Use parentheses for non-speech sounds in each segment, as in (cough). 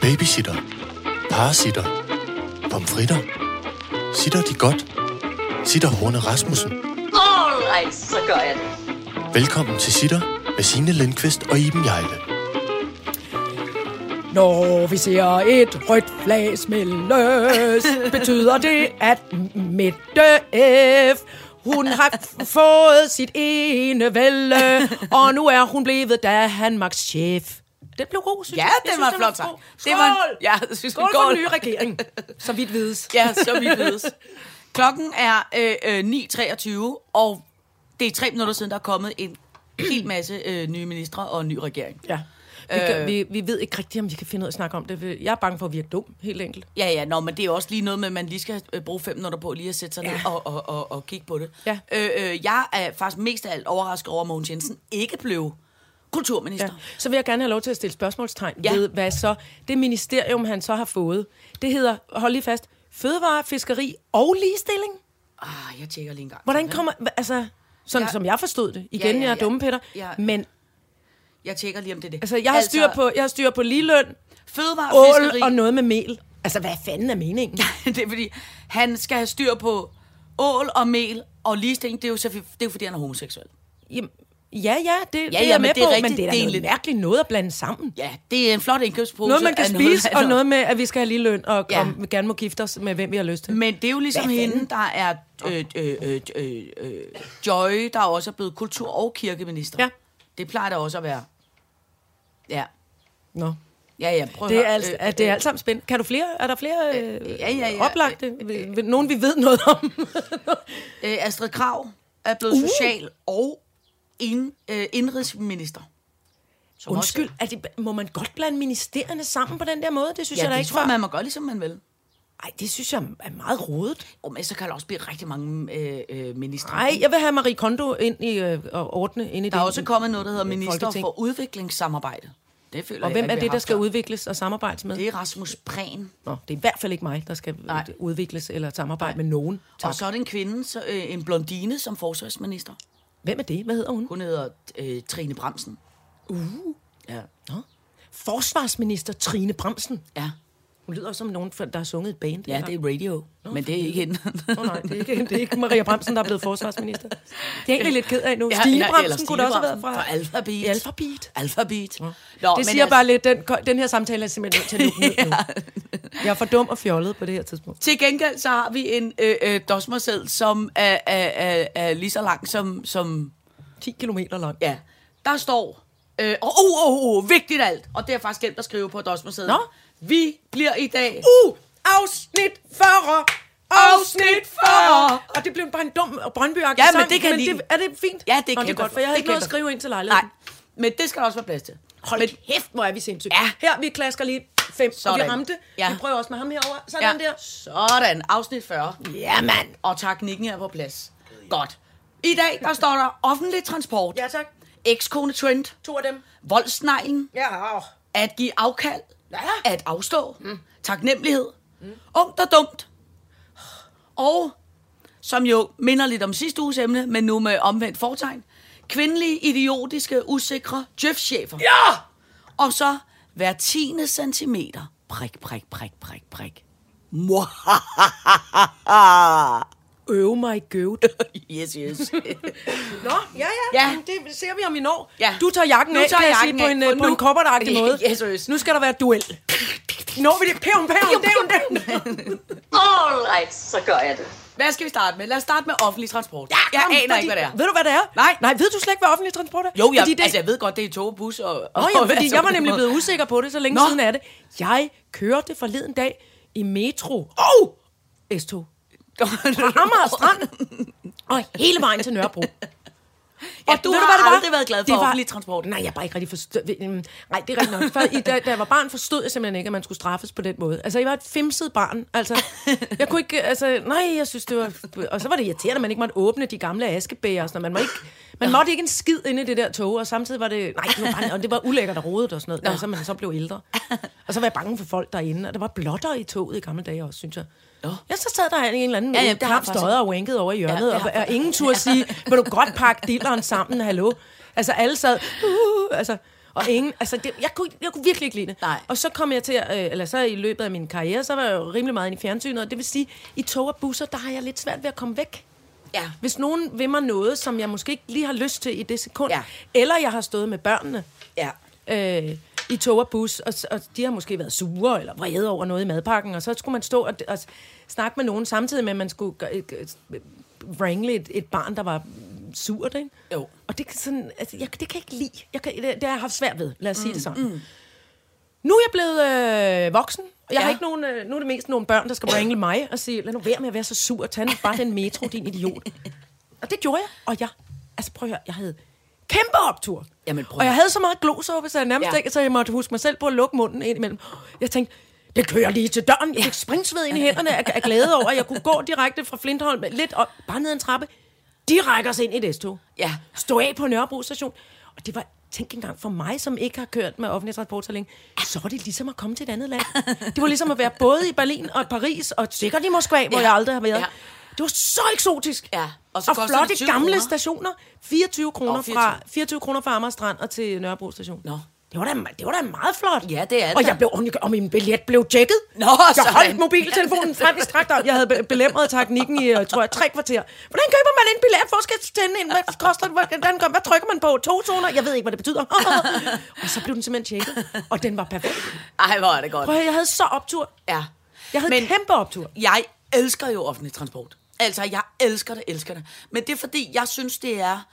Babysitter. Parasitter. Pomfritter. Sitter de godt? Sitter Horne Rasmussen. Alright, så gør jeg det. Velkommen til Sitter med Signe Lindqvist og Iben Jejle. Når vi ser et rødt flag smældes, betyder det, at Mette F. Hun har f- fået sit ene vælde, og nu er hun blevet Danmarks chef. Den blev god, synes Ja, jeg. Jeg den synes, var flot. god. så. Skål! Det var en, ja, jeg synes, Skål den for går. den nye regering, så vidt vides. Ja, så vi vides. (laughs) Klokken er øh, øh, 9.23, og det er tre minutter siden, der er kommet en hel masse øh, nye ministre og en ny regering. ja. Øh. Vi, kan, vi, vi ved ikke rigtigt, om vi kan finde ud af at snakke om det. Vi- Jeg er bange for at virke dum, helt enkelt. Ja, ja, nå, men det er også lige noget med, at man lige skal øh, bruge fem minutter på lige at sætte sig ja. ned Ja. og, og, og, og kigge på det. Ja. Øh, øh, jeg er faktisk mest af alt overrasket over, at Mogens Jensen ikke blev kulturminister. Ja. Ja. Så vil jeg gerne have lov til at stille spørgsmålstegn Ja. ja. ved, hvad så det ministerium, han så har fået. Det hedder, hold lige fast, Fødevare, Fiskeri og Ligestilling. Ah, jeg tjekker lige en gang. Hvordan kommer, hva- altså, sådan Ja. ja. som jeg forstod det. Igen, Ja, ja, ja, ja, jeg er ja. dumme, Peter. Ja. Ja. Men Jeg tjekker lige, om det er det. altså, jeg har, altså, styr på, jeg har styr på ligeløn, Fødevare, fiskeri. ål og noget med mel. Altså, hvad fanden er meningen? (laughs) det er fordi, han skal have styr på ål og mel og ligestilling. Det er jo, så, det er jo fordi, han er homoseksuel. Jamen, ja, ja, det, ja, det er ja, jeg men med det er på, rigtigt. men det er da Det er noget lidt- mærkeligt noget at blande sammen. Ja, det er en flot indkøbspose. Altså, Noget, man kan af spise, af (laughs) og noget med, at vi skal have ligeløn, og Ja. ja. om, vi gerne må gifte os med, hvem vi har lyst til. Men det er jo ligesom Hvad fanden? hende, der er øh, øh, øh, øh, øh, Joy, der også er blevet kultur- og kirkeminister. Ja. Det plejer der også at være. Ja, Nå. ja, ja. Prøv at Det er, altså høre. alt, Øh, er det er alt sammen spændende. Kan du flere? Er der flere øh, ja, ja, ja. oplagte? Øh, øh, Nogen, vi ved noget om? øh, øh, Astrid Krav er blevet uh. social- og ind, øh, indrigsminister. (laughs) Som også- Undskyld, er det, må man godt blande ministerierne sammen på den der måde? Det synes Ja, jeg da det ikke tror før. jeg, man må gøre, ligesom man vil. Ej, det synes jeg er meget rodet. Og men så kan der også blive rigtig mange øh, øh, ministre. Nej, jeg vil have Marie Kondo ind i, øh, og ordne ind i Der det. er også kommet noget, der hedder Minister Folketing. for Udviklingssamarbejde. Det føler Og jeg hvem ikke, er vi det, har der skal haft før. udvikles og samarbejdes med? Det er Rasmus Prehn. Nå, det er i hvert fald ikke mig, der skal Nej. udvikles eller samarbejde med nogen. Og Tak. så er det en kvinde, så, øh, en blondine som forsvarsminister. Hvem er det? Hvad hedder hun? Hun hedder øh, Trine Bremsen. Uh. Ja. Nå. Forsvarsminister Trine Bremsen. Ja. Hun lyder som nogen, der har sunget i et band. ja, det er radio. Nå, men det er ikke hende. Nå, nej, det er, ikke, det er ikke Maria Bremsen, der er blevet forsvarsminister. Det er jeg egentlig lidt ked af nu. Ja, Ja, Stine eller- Bremsen eller kunne det også have været Stine fra... Bramsen fra Alphabet. I Alphabet. Alfabet. Nå, altså- det siger bare lidt, den, den her samtale er simpelthen nødt til at lukke ned (laughs) nu. Jeg er for dum og fjollet på det her tidspunkt. Til gengæld så har vi en øh, øh, dosmerseddel, som er, er, er, er lige så lang som, som 10 kilometer lang. Ja, der står, øh, og oh, oh, oh, vigtigt alt, og det er faktisk glemt at skrive på Dosmersedet. Nå. Vi bliver i dag... Uh! Afsnit 40! Afsnit 40! Og det blev bare en dum og brøndby Ja, men det kan jeg lide. det, Er det fint? Ja, Nå, det det kan jeg er godt, godt. for jeg Det havde ikke kan noget at jeg skrive ind til Nej, lejligheden. men det skal der også være plads til. Hold men, kæft, hvor er vi sindssyge. Ja. Her, vi klasker lige fem, og Sådan. vi ramte. Ja. Vi prøver også med ham herover. ja, Sådan der. Sådan, afsnit 40. Ja, mand. Og teknikken er på plads. Godt. I dag, der står der offentlig transport. Ja, tak. Ekskone Trent. To af dem. Voldsneglen. Ja, åh. At give afkald. Ja. At afstå. Mm. Taknemmelighed. Mm. Ungt og dumt. Og, som jo minder lidt om sidste uges emne, men nu med omvendt fortegn, kvindelige, idiotiske, usikre djøfchefer. Ja! Og så hver tiende centimeter. Prik, prik, prik, prik, prik. Øve mig, gøvd. (laughs) Yes, yes. Nå, ja, ja. Ja. ja. Det ser vi om i når. Ja. Du tager jakken Nu af, tager kan jeg jakken sige, på af, en, for øh, på nu- en (laughs) kobbertagtig måde. Yes, yes. Nu skal der være duel. Når vi det? Pævn, pævn, pævn, pævn. Alright, så gør jeg det. Hvad skal vi starte med? Lad os starte med offentlig transport. jeg Kom, aner fordi- ikke, hvad det er. Ved du, hvad det er? Nej. Nej, ved du slet ikke, hvad offentlig transport er? Jo, jeg, Fordi det, altså, jeg ved godt, det er tog og bus og... Nå, (laughs) og ja, hvad (laughs) fordi så jeg på var den nemlig måde. blevet usikker på det, så længe Nå. siden er det. Jeg kørte forleden dag i metro og (laughs) S-tog. Fra Amager Strand og hele vejen til Nørrebro. Ja, og du ved har hvad det var? aldrig været glad for offentlig transport. Nej, jeg er bare ikke rigtig forstået. Nej, det er rigtig nok. Før, i, da, da, jeg var barn, forstod jeg simpelthen ikke, at man skulle straffes på den måde. Altså, jeg var et femset barn. Altså, jeg kunne ikke... Altså, nej, jeg synes, det var... Og så var det irriterende, at man ikke måtte åbne de gamle askebæger. Og sådan noget. Man, må ikke, man måtte ikke en skid inde i det der tog, og samtidig var det... Nej, det var, bare, og det var ulækkert og rodet og sådan noget, når så man så blev ældre. Og så var jeg bange for folk derinde, og der var blotter i toget i gamle dage også, synes jeg. Ja, så sad der en eller anden Ja, ja, med det har ja, jeg ja, faktisk støder og winkede over i hjørnet, det ja, har og, og, ingen turde (laughs) sige, vil du godt pakke dilleren sammen, hallo? Altså alle sad, uh, altså, og ingen, altså det, jeg, kunne, jeg kunne virkelig ikke lide det. Nej. Og så kom jeg til, at, øh, eller så i løbet af min karriere, så var jeg jo rimelig meget inde i fjernsynet, og det vil sige, i tog og busser, der har jeg lidt svært ved at komme væk. Ja. Hvis nogen vil mig noget, som jeg måske ikke lige har lyst til i det sekund, Ja. ja. eller jeg har stået med børnene, Ja. øh, i tog og bus, og, s- og de har måske været sure eller vrede over noget i madpakken, og så skulle man stå og, og s- snakke med nogen samtidig med, at man skulle gø- gø- wrangle et, et barn, der var surt, ikke? Jo. Og det kan, sådan, altså, jeg, det kan jeg ikke lide. Jeg kan, det, det har jeg haft svært ved, lad os mm, sige det sådan. Mm. Nu er jeg blevet øh, voksen. Jeg ja. Ja. har ikke nogen, øh, nu er det mest nogle børn, der skal wrangle mig og sige, lad nu være med at være så sur, tag nu bare den metro, din idiot. (laughs) Og det gjorde jeg, og jeg, altså prøv at høre, jeg havde kæmpe optur. Jamen, prøv at og jeg høre. havde så meget glosuppe, så jeg nærmest Ja. ja. ikke, så jeg måtte huske mig selv på at lukke munden ind imellem. Jeg tænkte, det kører lige til døren. Jeg fik springsved ind i hænderne af, af glæde over, at jeg kunne gå direkte fra Flintholm lidt op, bare ned ad en trappe, direkte os ind i det tog. Ja. Stå af på Nørrebro station. Og det var, tænk engang, for mig, som ikke har kørt med offentlig transport så længe, så var det ligesom at komme til et andet land. Det var ligesom at være både i Berlin og Paris, og sikkert i Moskva, hvor Ja. jeg aldrig har været. Ja. Det var så eksotisk. Ja. Og, Og så så og koster det flotte 20 gamle kroner. stationer. 24 kroner, Åh, 24. Fra, 24 kroner fra Amager Strand og til Nørrebro station. Nå. Det var, da, det var da meget flot. Ja, det er det Og da. jeg blev, og min- og min billet blev tjekket. Nå, jeg sådan. holdt mobiltelefonen frem i strakt arm. Jeg havde be- belemret teknikken i, øh, tror jeg, tre kvarter. Hvordan køber man en billet? Hvor skal jeg tænde en? Hvad koster den? Hvordan gør, hvad trykker man på? To zoner? Jeg ved ikke, hvad det (laughs) betyder. og så blev den simpelthen tjekket. Og den var perfekt. (laughs) Ej, hvor er det godt. Prøv at høre, jeg havde så optur. Ja. Jeg havde Men- Men, kæmpe optur. Jeg elsker jo offentlig transport. Altså, jeg elsker det, elsker det. Men det er fordi, jeg synes, det er...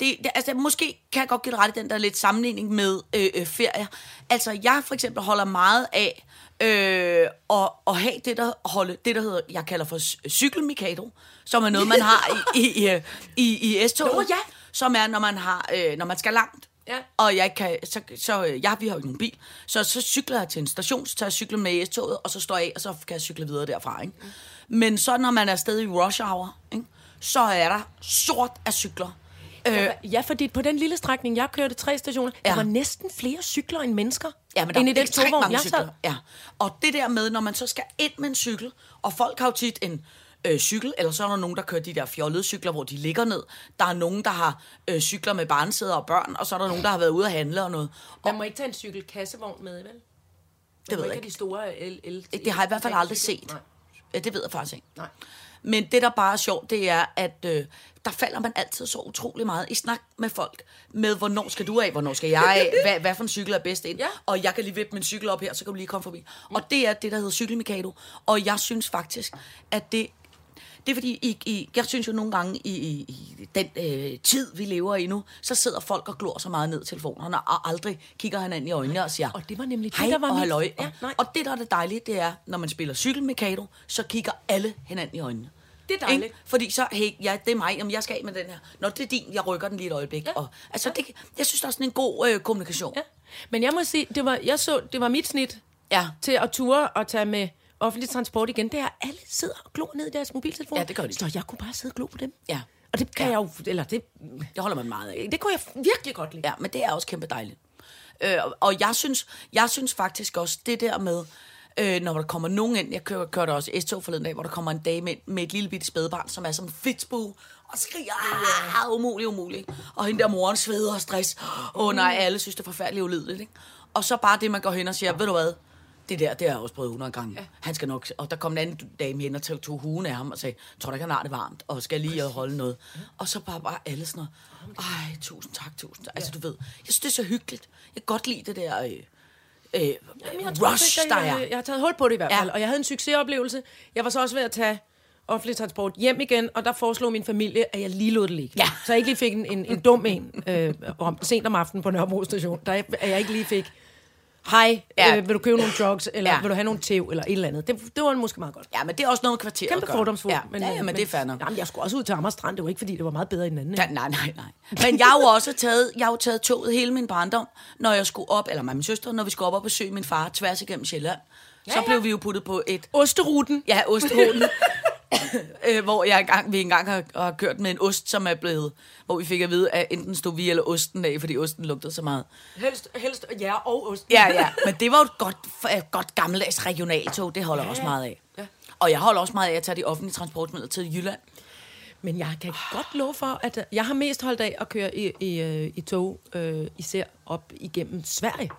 Det, det, altså, måske kan jeg godt give dig ret i den der lidt sammenligning med øh, øh, ferier. Altså, jeg for eksempel holder meget af øh, at, at have det der, holde, det, der hedder, jeg kalder for cy- cykelmikado, som er noget, man har i, i, i, øh, i, i S-toget. Nå, ja. Som er, når man, har, øh, når man skal langt. Ja. Og jeg kan, så, så øh, jeg, vi har jo ikke nogen bil, så, så cykler jeg til en station, så tager jeg cyklen med i S-toget, og så står jeg af, og så kan jeg cykle videre derfra. Ikke? Mm. Men så når man er afsted i rush hour, ikke? så er der sort af cykler. Øh, Ja, fordi på den lille strækning, jeg kørte tre stationer, ja. Ja. der var næsten flere cykler end mennesker. Ja, men der end i er den ekstremt togvogn, mange jeg sad. cykler. Ja. Og det der med, når man så skal ind med en cykel, og folk har jo tit en øh, cykel, eller så er der nogen, der kører de der fjollede cykler, hvor de ligger ned. Der er nogen, der har øh, cykler med barnsæder og børn, og så er der nogen, der har været ude at handle og noget. Man må ikke tage en cykelkassevogn med, vel? Man Det ved må jeg ikke. ikke. have de store øh, el, el, Det har jeg i hvert fald aldrig cykel. set. Nej. Ja, det ved jeg faktisk ikke. Nej. Men det, der bare er sjovt, det er, at øh, der falder man altid så utrolig meget i snak med folk. Med, hvornår skal du af, hvornår skal jeg (laughs) af, hvad, hvad for en cykel er bedst ind. Ja. Og jeg kan lige vippe min cykel op her, så kan du lige komme forbi. Og det er det, der hedder cykelmikado. Og jeg synes faktisk, at det... Det er fordi, I, I, jeg synes jo nogle gange, i, i, i den øh, tid, vi lever i nu, så sidder folk og glor så meget ned i telefonerne, og aldrig kigger hinanden i øjnene og siger, Og det var nemlig det, hej der var og mit- halløj. Ja, Ja, nej. og det, der er det dejlige, det er, når man spiller cykelmikado, så kigger alle hinanden i øjnene. Det er dejligt. Ikke? Fordi så, hey, ja, det er mig, jamen, jeg skal af med den her. Nå, det er din, jeg rykker den lige et øjeblik. Ja. Og, altså, det, jeg synes, der er sådan en god øh, kommunikation. Ja. Men jeg må sige, det var, jeg så, det var mit snit Ja. til at ture og tage med offentlig transport igen. Det er, at alle sidder og glor ned i deres mobiltelefon. Ja, det gør de. Så jeg kunne bare sidde og glo på dem. Ja. Og det kan Ja. ja. jeg jo, eller det, Det holder man meget af. det kunne jeg virkelig godt lide. Ja, men det er også kæmpe dejligt. Øh, og- og jeg synes, jeg synes faktisk også, det der med, øh, når der kommer nogen ind, jeg kører, kørte også S-tog forleden dag, hvor der kommer en dame ind med et lille bitte spædbarn, som er som en fedtbue, og skriger, ah, umuligt, umuligt. ikke? Og hende der moren sveder og stress. Åh oh, Mm. nej, alle synes, det er forfærdeligt ulideligt. Ikke? Og så bare det, man går hen og siger, ved du hvad, det der, det har jeg også prøvet 100 gange. Ja. Han skal nok... Og der kom en anden dame hen og tog, tog huen af ham og sagde, tror du ikke, han har det varmt, og skal lige og holde noget. Og så bare, bare alle sådan noget. Ej, tusind tak, tusind tak. Altså, du ved, jeg synes, det er så hyggeligt. Jeg kan godt lide det der øh, øh, rush, der jeg, jeg, er. jeg har taget hul på det i hvert Ja. fald, ja. og jeg havde en succesoplevelse. Jeg var så også ved at tage offentlig transport hjem igen, og der foreslog min familie, at jeg lige lod det ligge. Ja. Så jeg ikke lige fik en, en, en dum en øh, om, sent om aftenen på Nørrebro station, der jeg, at jeg ikke lige fik hej, Ja. ja. øh, vil du købe nogle drugs, eller Ja. ja. vil du have nogle tæv, eller et eller andet. Det, det var måske meget godt. Ja, men det er også noget med kvarteret Kæmpe at gøre. fordomsfuld. øh, Ja, men, ja, ja, men det er fair nok. Jamen, jeg skulle også ud til Amager Strand. Det var ikke, fordi det var meget bedre end den anden. Ja, nej, nej, nej. Men jeg har jo også taget, jeg har jo taget toget hele min barndom, når jeg skulle op, eller mig og min søster, når vi skulle op og besøge min far tværs igennem Sjælland. Ja, så ja. blev vi jo puttet på et, Osteruten. ja, ostehålen, (laughs) øh, hvor jeg engang, vi engang har, har kørt med en ost, som er blevet, hvor vi fik at vide, at enten stod vi eller osten af, fordi osten lugtede så meget. Helst, helst ja og osten. Ja, ja, (laughs) men det var jo et godt, f- godt gammeldags regionaltog, det holder jeg også meget af. Ja. Og jeg holder også meget af at tage de offentlige transportmidler til Jylland. Men jeg kan godt love for, at øh, jeg har mest holdt af at køre i, i, øh, i tog, øh, især op igennem Sverige.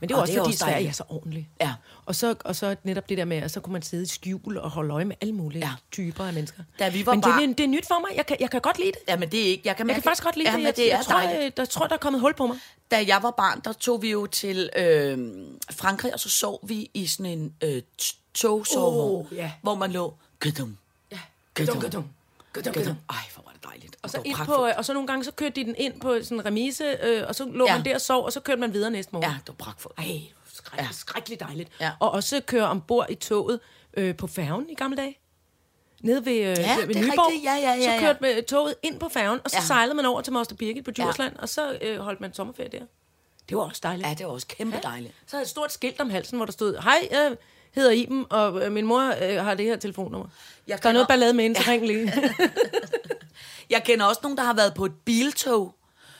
Men det var Og også, det er fordi også Sverige dejligt. er så ordentligt. Ja. Og så, og så netop det der med, at så kunne man sidde i skjul og holde øje med alle mulige Ja. ja. typer af mennesker. Da vi var Men barn- det, er, det er nyt for mig. Jeg kan, jeg kan godt lide det. Jamen, det er ikke... Jeg kan, Jeg kan faktisk godt lide Jamen, det. Jeg, det er jeg, tror, dejligt. jeg, jeg tror, der er kommet hul på mig. da jeg var barn, der tog vi jo til øh, Frankrig, og så sov vi i sådan en øh, t- togsovevogn, Oh, ja. hvor man lå... Gudum. Gudum, gudum. Gudum. Ej, hvor var det dejligt. Og så, det var ind på, pragtfuldt. og så nogle gange, så kørte de den ind på sådan en remise, øh, og så lå Ja. ja. man der og sov, og så kørte man videre næste morgen. Ja, det var pragtfuldt. Ej, skræk, ja. skrækkelig dejligt. Ja. Ja. Og også køre ombord i toget øh, på færgen i gamle dage. Nede ved, øh, ja, ved det er rigtigt. Nyborg. Ja, ja, ja, ja. Så kørte man toget ind på færgen, og så Ja. ja. sejlede man over til Moster Birgit på Ja. Djursland, ja. og så øh, holdt man sommerferie der. Det var også dejligt. Ja, det var også kæmpe ja. dejligt. Så havde jeg et stort skilt om halsen, hvor der stod, hej, jeg hedder Iben, og øh, min mor øh, har det her telefonnummer. Jeg der kender- er noget ballade med hende, så ring (laughs) lige. Jeg kender også nogen, der har været på et biltog,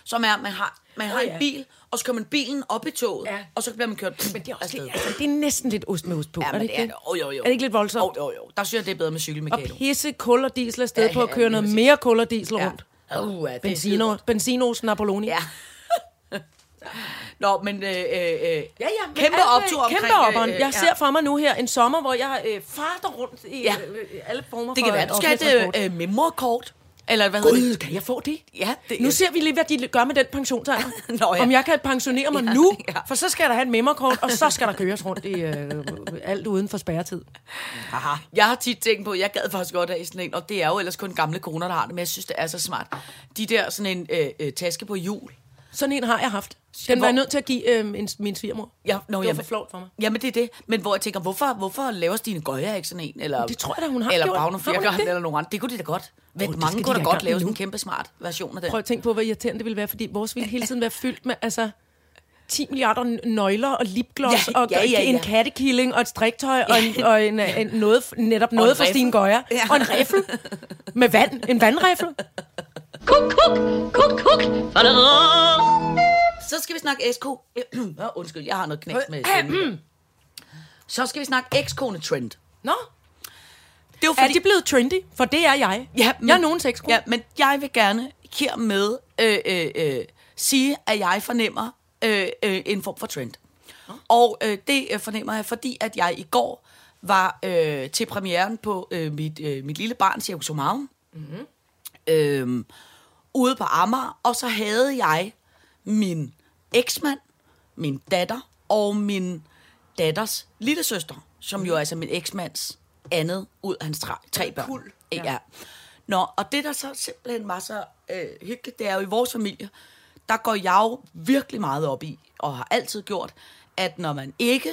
som er, at man har, man har Åh, oh, ja. en ja. bil, og så kører man bilen op i toget, ja. Ja. og så bliver man kørt... Men det er, også lidt, altså, det er næsten lidt ost med ost på, Ja, er men det det ikke er det. Oh, jo, jo. Er det ikke lidt voldsomt? Jo, jo, jo. Der synes jeg, det er bedre med Og cykelmekano. pisse kul og diesel afsted Ja, ja, på at ja, køre lige ja, noget præcis. mere kul og diesel Ja. rundt. Uh, ja, det er Benzino, skidegodt. Benzinos Napoloni. Ja. (laughs) Nå, men... Øh, øh, øh, Ja, ja, men kæmpe alt, øh, optur omkring... Kæmpe operen. øh, øh, Jeg ser for mig nu her en sommer, hvor jeg øh, farter rundt i Ja. ja. øh, alle former Det kan for være, du skal offentlig have transport. et øh, memorkort. Eller hvad hedder Gud, det? kan jeg få det? Ja, det- nu ser vi lige, hvad de gør med den pensionsalder. (laughs) Nå, ja. Om jeg kan pensionere mig Ja, nu, ja. for så skal jeg da have et memmerkort, og så skal der køres rundt i øh, alt uden for spærretid. Aha. Jeg har tit tænkt på, jeg gad faktisk godt have sådan en, og det er jo ellers kun gamle koner, der har det, men jeg synes, det er så smart. De der sådan en øh, øh, taske på hjul. Sådan en har jeg haft. Den Hvor- var jeg nødt til at give øh, min, min svigermor. Ja, nå, det var jamen- for flot for mig. Jamen, det er det. Men hvor jeg tænker, hvorfor, hvorfor laver Stine Gøjer ikke sådan en? Eller, Det tror jeg da, hun har Eller gjort. Bavne Har hun ikke Fjerkeren, det? eller nogen andre. Det kunne de da godt. Vent, Åh, det mange skal kunne de da da i godt gang lave med sådan en nu. kæmpe smart version af den. Prøv at tænke på, hvor irriterende det ville være, fordi vores ville hele tiden være fyldt med, altså... 10 milliarder n- nøgler og lipgloss Ja, ja, og ja, ja, en ja. kattekilling og et striktøj og, en, og en, øh, en, noget, netop en noget fra riffel. Stine Gøjer. Ja. Ja. Og en riffel med vand. En vandriffel. Kuk, kuk, kuk, kuk. Badadum. Så skal vi snakke SK. (clears throat) Nå, undskyld, jeg har noget knæk (clears throat) med stemmen. Så skal vi snakke ekskone trend. Nå, Det jo er de blevet trendy? For det er jeg. jeg er nogen sexkone. Ja, men jeg vil gerne hermed øh, øh, øh, sige, at jeg fornemmer øh, øh, en form for trend. Og øh, det øh, fornemmer jeg, fordi at jeg i går var øh, til premieren på øh, mit, øh, mit lille barn, Circus Omarum, Mhm. mm-hmm. øh, ude på Amager, og så havde jeg min eksmand, min datter og min datters lille søster, som jo er altså min eksmands andet ud af hans tre, tre børn. Kul. Ja. ja. Nå, og det der så simpelthen var så øh, hyggeligt, det er jo i vores familie, der går jeg jo virkelig meget op i, og har altid gjort, at når man ikke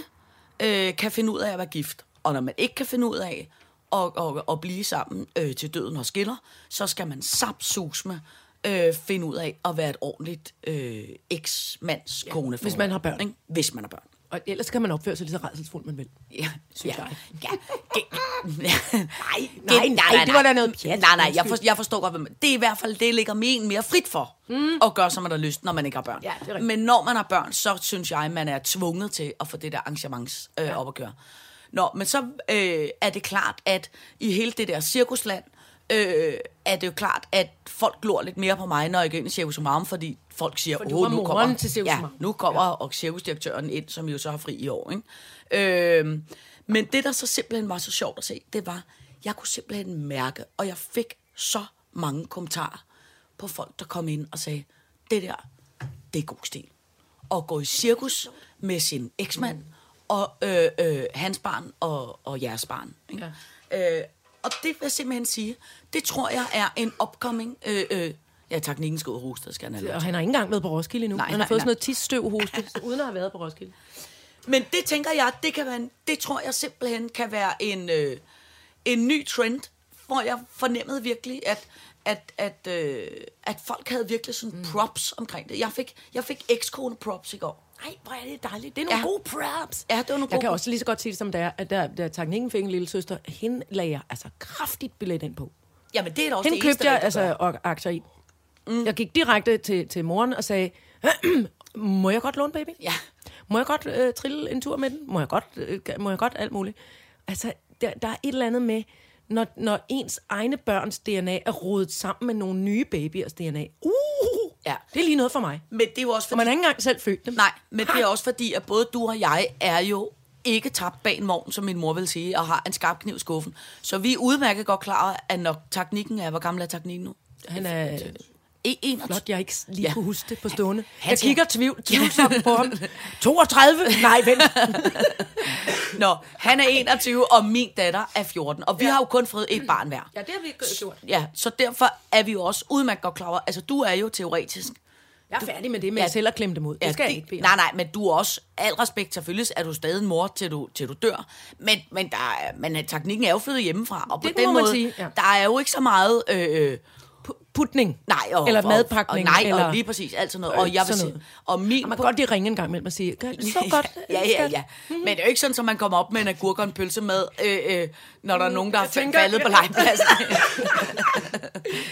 øh, kan finde ud af at være gift, og når man ikke kan finde ud af at, at, at blive sammen øh, til døden og skiller, så skal man sapsusme øh, finde ud af at være et ordentligt øh, eksmands kone. Ja, hvis man har børn. Hvis man har børn. Og ellers kan man opføre sig lige så redselsfuldt, man vil. Ja, synes ja. jeg. Ja. Ge- nej, (laughs) nej, nej, det var da noget pjat. Nej, nej, jeg, for, jeg forstår godt, hvad man, det er i hvert fald, det ligger men mere frit for mm. at gøre, som man har lyst, når man ikke har børn. Ja, det er rigtigt. Men når man har børn, så synes jeg, man er tvunget til at få det der arrangements øh, op at køre. Nå, men så øh, er det klart, at i hele det der cirkusland, øh, er det jo klart, at folk glor lidt mere på mig, når jeg går ind i Cirkus Omarum, fordi folk siger, du åh, var nu moren kommer, til Cirkus ja, Omarum." nu kommer ja. og cirkusdirektøren ind, som jo så har fri i år. Ikke? Øhm, men det, der så simpelthen var så sjovt at se, det var, jeg kunne simpelthen mærke, og jeg fik så mange kommentarer på folk, der kom ind og sagde, det der, det er god stil. Og gå i cirkus med sin eksmand, og øh, øh, hans barn og, og jeres barn. Ikke? Ja. Øh, og det vil jeg simpelthen sige, det tror jeg er en upcoming... Øh, øh, ja, teknikken skal ud og hoste, skal han have lov Og han har ikke engang været på Roskilde endnu. Nej, han har nej, fået nej. sådan noget tisstøv hoste, uden at have været på Roskilde. Men det tænker jeg, det kan man, det tror jeg simpelthen kan være en, øh, en ny trend, hvor jeg fornemmede virkelig, at, at, at, øh, at folk havde virkelig sådan mm. props omkring det. Jeg fik, jeg fik ekskone props i går. Nej, hvor er det dejligt. Det er nogle Ja. gode props. Ja, det var nogle Jeg gode kan også lige så godt sige det, som det er, at der, der teknikken fik en lille søster, hende lagde jeg altså kraftigt billet ind på. Jamen, det er da også Hende det købte eneste, jeg rigtige at altså gøre. og aktier i. Mm. Jeg gik direkte til, til moren og sagde, (clears throat) må jeg godt låne baby? Ja. Må jeg godt øh, trille en tur med den? Må jeg godt, øh, må jeg godt alt muligt? Altså, der, der er et eller andet med, når, når ens egne børns DNA er rodet sammen med nogle nye babyers DNA. Uh, Ja. det er lige noget for mig. Men det er jo også Og fordi... man har ikke engang selv født dem. Nej, men det er også fordi, at både du og jeg er jo ikke tabt bag en morgen, som min mor vil sige, og har en skarp kniv i skuffen. Så vi er udmærket godt klar, over, at når teknikken er, hvor gammel er teknikken nu? Han er øh, E- 21. flot, jeg ikke lige Ja. ja. kunne huske det på stående. han jeg siger- kigger tvivl, tvivlsomt på (laughs) ham. 32? Nej, vent. Nå, han er 21, og min datter er 14. Og vi ja. har jo kun fået et barn hver. Ja, det har vi gjort. Ja, så derfor er vi jo også udmærket godt klar over. Altså, du er jo teoretisk. Jeg er færdig med det, men jeg Ja. selv har klemt dem ud. Ja, det skal jeg det- ikke bede om. Nej, nej, men du er også, al respekt selvfølgelig, er du stadig en mor, til du, til du dør. Men, men, der er, men øh, teknikken er jo flyttet hjemmefra, og på Det den må man måde, sige, ja. der er jo ikke så meget... Øh, Pu- putning. Nej, og, eller og, madpakning. Og, nej, eller, Øh, og lige præcis, alt sådan noget. Og jeg vil sådan sige, noget. og min... Man kan godt lige ringe en gang imellem og sige, "Gør- (laughs) så godt. (laughs) Mhm. ja, ja, ja. Men det er jo ikke sådan, at man kommer op med en agurk og en pølse med, øh, øh, når der er nogen, der er Mhm. tænker- faldet på (laughs) legepladsen.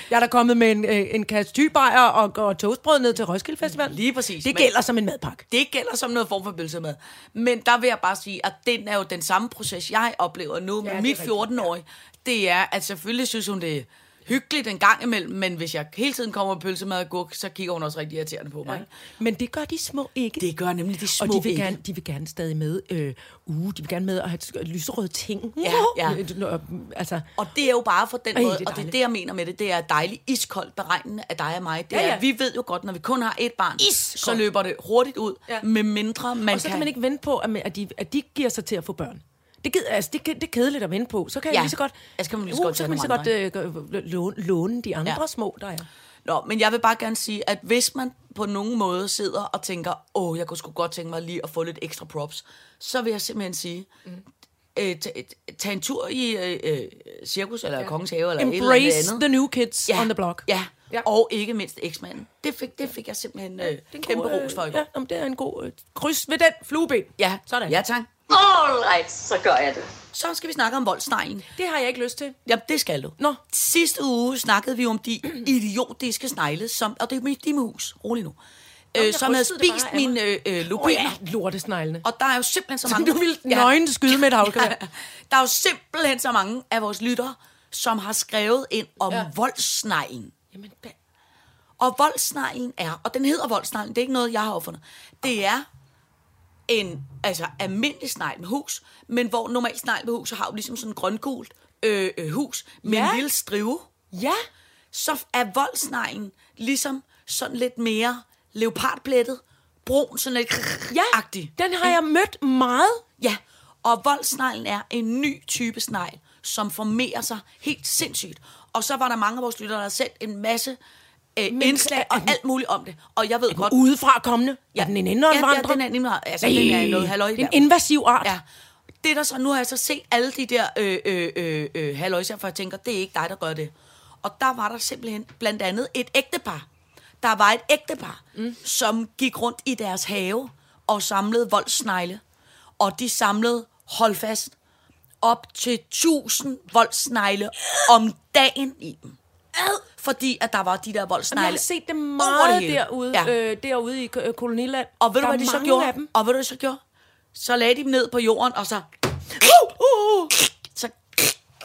Jeg er da kommet med en, øh, en kasse tybejer og, og toastbrød ned til Roskilde Festival. Lige præcis, Det men- gælder som en madpakke. det gælder som noget form for pølse med. Men der vil jeg bare sige, at den er jo den samme proces, jeg oplever nu med det ja, er mit rigtigt, 14-årige. Det er, at selvfølgelig synes hun, det er hyggeligt en gang imellem, men hvis jeg hele tiden kommer med pølsemad og gurk, så kigger hun også rigtig irriterende på mig. Ja. Men det gør de små ikke. Det gør nemlig de små og de vil, ikke. gerne, de vil gerne stadig med, øh, uh, de vil gerne med at have et lyserøde ting. Ja, ja. Øh, nå, Altså, Og det er jo bare for den Ej, Ej, det er måde, det og det er dejligt. det, jeg mener med det, det er dejligt iskoldt beregnende af dig og mig. Det Ja, ja, ja. ja. Er, vi ved jo godt, når vi kun har et barn, Iskoldt. så løber det hurtigt ud, Ja. ja. med mindre man og så kan... kan man ikke vente på, at, man- at, de, at de giver sig til at få børn. Det, gider, altså, det, kan- det er kedeligt at vente på. Så kan jeg Ja. lige så godt, Ja, så kan man lige så godt så kan tage man lige så nogle godt øh, gø- låne, låne de andre ja. Ja. små, der er. Nå, men jeg vil bare gerne sige, at hvis man på nogen måde sidder og tænker, åh, jeg kunne sgu godt tænke mig lige at få lidt ekstra props, så vil jeg simpelthen sige, mm. øh, ta- øh, tag en tur i øh, øh, cirkus eller ja. kongens have eller et eller Embrace andet. the new kids ja, on the block. Ja. ja, og ikke mindst eksmanden. Det fik, det fik jeg simpelthen øh, kæmpe ros for i Ja, går. Ja. om det er en god øh, kryds ved den flueben. ja, Sådan. Ja, tak. All right, så gør jeg det. Så skal vi snakke om voldsnejen. Det har jeg ikke lyst til. Jamen, det skal du. Nå. Sidste uge snakkede vi om (clears throat) de idiotiske snegle, som, og det er med de mus, rolig nu, jeg øh, som havde rystede det bare spist af min øh, øh, Åh oh, lupiner. ja, lortesneglene. (laughs) Og der er jo simpelthen så Som mange... du ville nøgen skyde med et havlgevær. Der er jo simpelthen så mange af vores lyttere, som har skrevet ind om Ja. ja. voldsneglen. Jamen, hvad- Og voldsneglen er, og den hedder voldsneglen, det er ikke noget, jeg har opfundet. Det er en altså, almindelig snegl med hus, men hvor normalt snegl med hus har jo ligesom sådan en grøngult øh, øh, hus med Ja. en lille strive. ja, Så er voldsneglen ligesom sådan lidt mere leopardplettet, brun, sådan lidt ja. agtig. Den har jeg mødt meget. Ja, og voldsneglen er en ny type snegl, som formerer sig helt sindssygt. Og så var der mange af vores lyttere, der har sendt en masse øh, indslag og alt muligt om det. Og jeg ved godt... Udefra kommende. Ja. Er den en indvandrer? Ja, ja, den er nemlig... Altså, den er noget halløj. Det er der. en invasiv art. Ja. Det der så, nu har jeg så set alle de der øh, øh, øh, øh, halløjser, for jeg tænker, det er ikke dig, der gør det. Og der var der simpelthen blandt andet et ægtepar. Der var et ægtepar, mm. som gik rundt i deres have og samlede voldsnegle. Og de samlede, hold fast, op til 1000 voldsnegle om dagen i dem. Fordi at der var de der voldsnegle Jeg har set dem over meget hele. derude, Ja. øh, derude i ko- øh, koloniland. Og ved du, Der hvad de er så mange gjorde? Af dem. Og ved du, hvad de så gjorde? Så lagde de dem ned på jorden, og så... Uh, uh, uh, så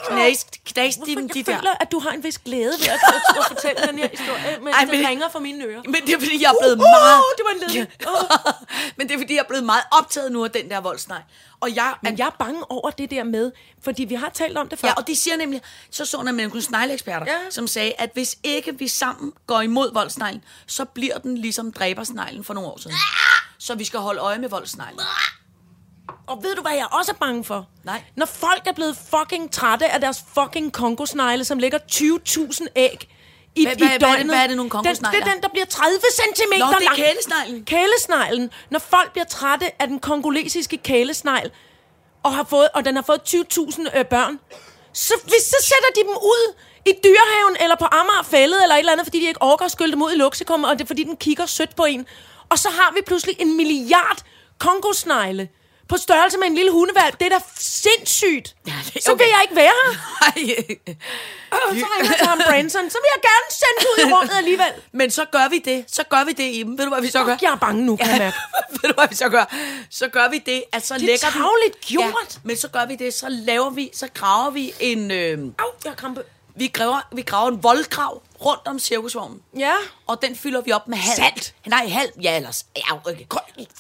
knæste, knæste de Hvorfor, dem, de jeg der... føler, at du har en vis glæde ved at, at fortælle den her (laughs) historie, men Ej, det men- ringer fra mine ører. Men det er, fordi jeg er blevet Uh, uh, meget... det var en Uh. ledning. (laughs) Men det er, fordi jeg er blevet meget optaget nu af den der voldsnej. Og jeg... Men jeg er bange over det der med, fordi vi har talt om det før. Ja, og de siger nemlig, så så man nogle snegleeksperter, Ja. ja. som sagde, at hvis ikke vi sammen går imod voldsneglen, så bliver den ligesom dræbersneglen for nogle år siden. Så vi skal holde øje med voldsneglen. Og ved du, hvad jeg også er bange for? Nej. Når folk er blevet fucking trætte af deres fucking kongosnegle, som lægger 20.000 æg i, Hvad- i hvad- hvad er det- døgnet. hvad er det, nogle Den- kongosnegler? Det er den, der bliver 30 cm Nå, det er lang. kælesneglen. Kælesneglen. Når folk bliver trætte af den kongolesiske kælesnegl, og, har fået, og den har fået 20.000 øh, børn, så, hvis, så sætter de dem ud i dyrehaven, eller på Amager Fællet, eller et eller andet, fordi de ikke orker at skylle dem ud i luksekum, og det er fordi, den kigger sødt på en. Og så har vi pludselig en milliard kongosnegle på størrelse med en lille hundevalg. Det er da sindssygt. Ja, det er Så vil okay. jeg ikke være her. Nej. Og så ringer Tom Branson, så vil jeg gerne sende den ud i rummet alligevel. (laughs) Men så gør vi det. Så gør vi det, Iben. Ved du, hvad vi så gør? Fuck, jeg er bange nu, kan jeg mærke. (laughs) Ved du, hvad vi så gør? Så gør vi det, at så er lægger vi... tarveligt gjort. men så gør vi det, så laver vi, så graver vi en... Øh, Au, jeg har krampe. vi, graver, vi graver en voldgrav rundt om cirkusvognen. Ja. Og den fylder vi op med halm. Salt? Nej, halm. Ja, ellers. Ja, okay.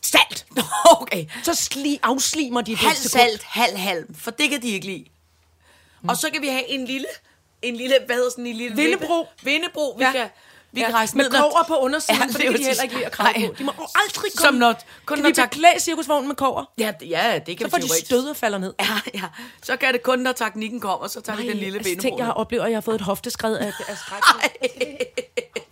Salt. (laughs) Okay. Så sli, afslimer de det Halv salt, halv halm. For det kan de ikke lide. Og så kan vi have en lille... En lille, hvad hedder sådan en lille... Vindebro. vippe? Vindebro, vi Ja. kan... Vi Ja, kan rejse med ned, når- kover på undersiden, for det det er kan jo de heller ikke lide at krabbe Nej. på. De må aldrig komme- Som når, kun Kun når kan vi tak, beklæde cirkusvognen med kover? Ja, d- ja, det kan Så vi får de teoretisk. stød og falder ned. (laughs) Ja, ja. Så kan det kun, når teknikken kommer, så tager de den lille altså, tænk, jeg har oplevet, at jeg har fået et hofteskred af, af skræk.